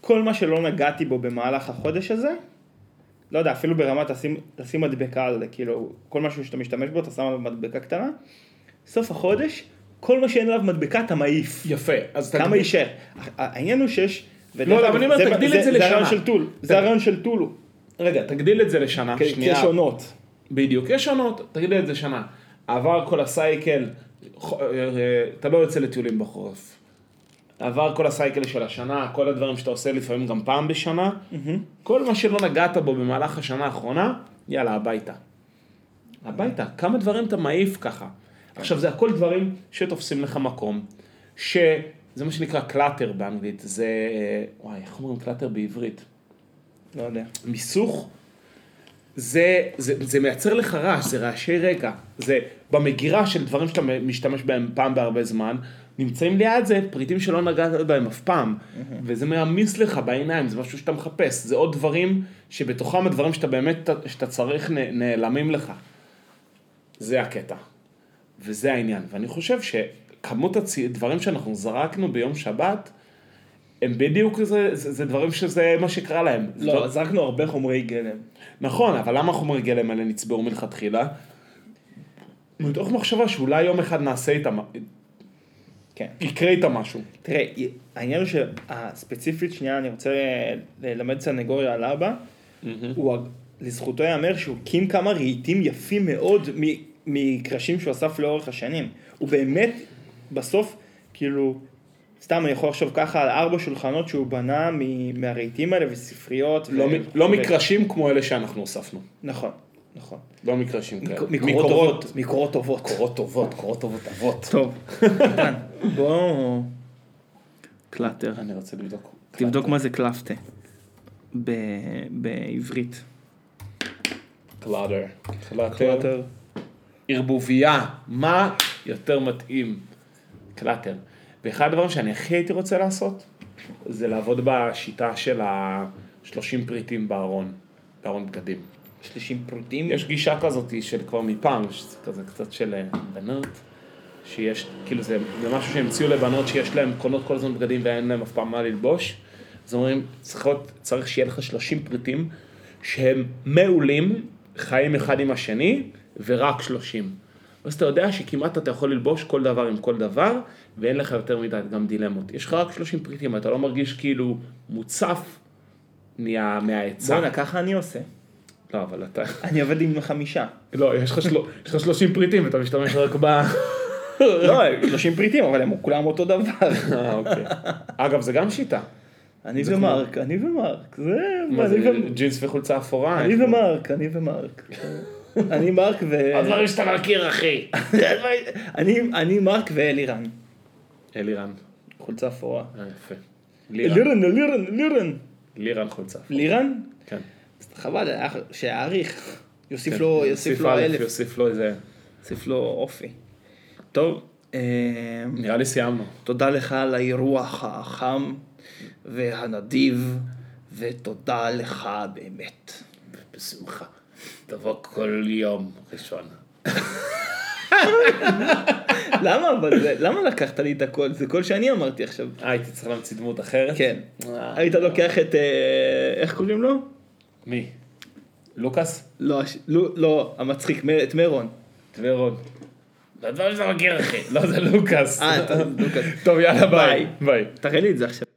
כל מה שלא נגעתי בו במהלך החודש הזה, לא יודע, אפילו ברמה תשים, תשים מדבקה על זה, כאילו, כל משהו שאתה משתמש בו, אתה שם עליו מדבקה קטנה, סוף החודש, כל מה שאין עליו מדבקה אתה מעיף.
יפה, אז
כמה יישאר? העניין הוא שיש...
לא, אבל אני אומר, תגדיל את זה
זה הרעיון
לשנה.
של טול, זה הרעיון של טול, הוא.
רגע, תגדיל את זה לשנה,
כי- כי
שנייה.
יש עונות.
בדיוק, יש עונות, תגדיל את זה שנה. עבר כל הסייקל, ח- אה, אה, אתה לא יוצא לטיולים בחורף. עבר כל הסייקל של השנה, כל הדברים שאתה עושה לפעמים גם פעם בשנה. כל מה שלא נגעת בו במהלך השנה האחרונה, יאללה, הביתה. הביתה. כמה דברים אתה מעיף ככה. עכשיו, זה הכל דברים שתופסים לך מקום, שזה מה שנקרא קלאטר באנגלית, זה, אה, וואי, איך אומרים קלאטר בעברית?
לא יודע.
מיסוך, זה, זה, זה מייצר לך רעש, זה רעשי רקע. זה במגירה של דברים שאתה משתמש בהם פעם בהרבה זמן, נמצאים ליד זה פריטים שלא נגעת בהם אף פעם. וזה מעמיס לך בעיניים, זה משהו שאתה מחפש. זה עוד דברים שבתוכם הדברים שאתה באמת, שאתה צריך, נ- נעלמים לך. זה הקטע. וזה העניין. ואני חושב שכמות הדברים שאנחנו זרקנו ביום שבת, הם בדיוק זה, זה, זה דברים שזה מה שקרה להם. זה דבר-
לא, זרקנו הרבה חומרי גלם.
נכון, אבל למה חומרי גלם האלה נצבעו מלכתחילה? מתוך מחשבה שאולי יום אחד נעשה איתם,
כן.
יקרה איתם משהו.
תראה, העניין הוא שהספציפית, שנייה, אני רוצה אה, ללמד סנגוריה על אבא, הוא, לזכותו ייאמר שהוא הקים כמה רהיטים יפים מאוד מ- מקרשים שהוא אסף לאורך השנים. הוא באמת בסוף, כאילו, סתם אני יכול לחשוב ככה על ארבע שולחנות שהוא בנה מ- מהרהיטים האלה וספריות.
לא
ו-
מ- לא
ו-
מקרשים כמו אלה שאנחנו הוספנו.
נכון, נכון.
לא מקרשים כאלה.
מקורות, מקורות טובות.
קורות טובות, קורות טובות אבות.
טוב, איתן, בואו... קלאטר.
אני רוצה לבדוק.
תבדוק מה זה קלפטה. ב- בעברית.
קלאדר. קלאטר. ערבוביה, מה יותר מתאים? קלאטר. ואחד הדברים שאני הכי הייתי רוצה לעשות, זה לעבוד בשיטה של ה-30 פריטים בארון, בארון בגדים.
שלישים פרוטים.
יש גישה כזאת של כבר מפעם, שזה כזה קצת של אה, בנות, שיש, כאילו זה, זה משהו שהמציאו לבנות שיש להן, קונות כל הזמן בגדים ואין להן אף פעם מה ללבוש. אז אומרים, צריך, להיות- צריך שיהיה לך 30 פריטים שהם מעולים, חיים אחד עם השני, ורק 30. אז אתה יודע שכמעט אתה יכול ללבוש כל דבר עם כל דבר, ואין לך יותר מדי גם דילמות. יש לך רק 30 פריטים, אתה לא מרגיש כאילו מוצף מה- מההיצע.
בואנה, ככה אני עושה.
לא, אבל אתה...
אני עובד עם חמישה.
לא, יש לך של- יש לך 30 פריטים, אתה משתמש רק ב...
*laughs* לא, 30 פריטים, אבל הם כולם אותו דבר.
אה,
*laughs*
אוקיי. אגב, זה גם שיטה.
אני ומרק, אני ומרק. זה...
מה זה,
כן, אני ו-
ג'ינס וחולצה אפורה?
אני ומרק, אני ומרק. אני מרק *laughs* ו...
הדברים שאתה מכיר, אחי.
אני- אני מרק ואלירן.
אלירן.
חולצה אפורה.
אה, יפה. לירן.
אלירן, אלירן, אלירן.
לירן חולצה.
לירן?
כן.
אז חבל, היה- שיעריך. יוסיף
כן.
לו, יוסיף לו
א',
אלף.
יוסיף לו איזה...
יוסיף לו אופי. טוב, אה,
נראה לי סיימנו.
תודה לך על האירוח החם והנדיב, ותודה לך באמת. *laughs*
בשמחה. תבוא כל יום ראשון.
למה אבל זה, למה לקחת לי את הקול? זה קול שאני אמרתי עכשיו.
אה, הייתי צריך להמציא דמות אחרת?
כן. היית לוקח את, אה, איך קוראים לו?
מי? לוקאס?
לא, הש- לא, לא, המצחיק, מ- את מרון.
ורון.
הדברים שאתה מכיר, אחי.
לא, זה לוקאס.
אה, אתה- לוקאס.
*laughs* טוב, יאללה, ביי.
ביי.
ביי.
תראה לי את זה עכשיו.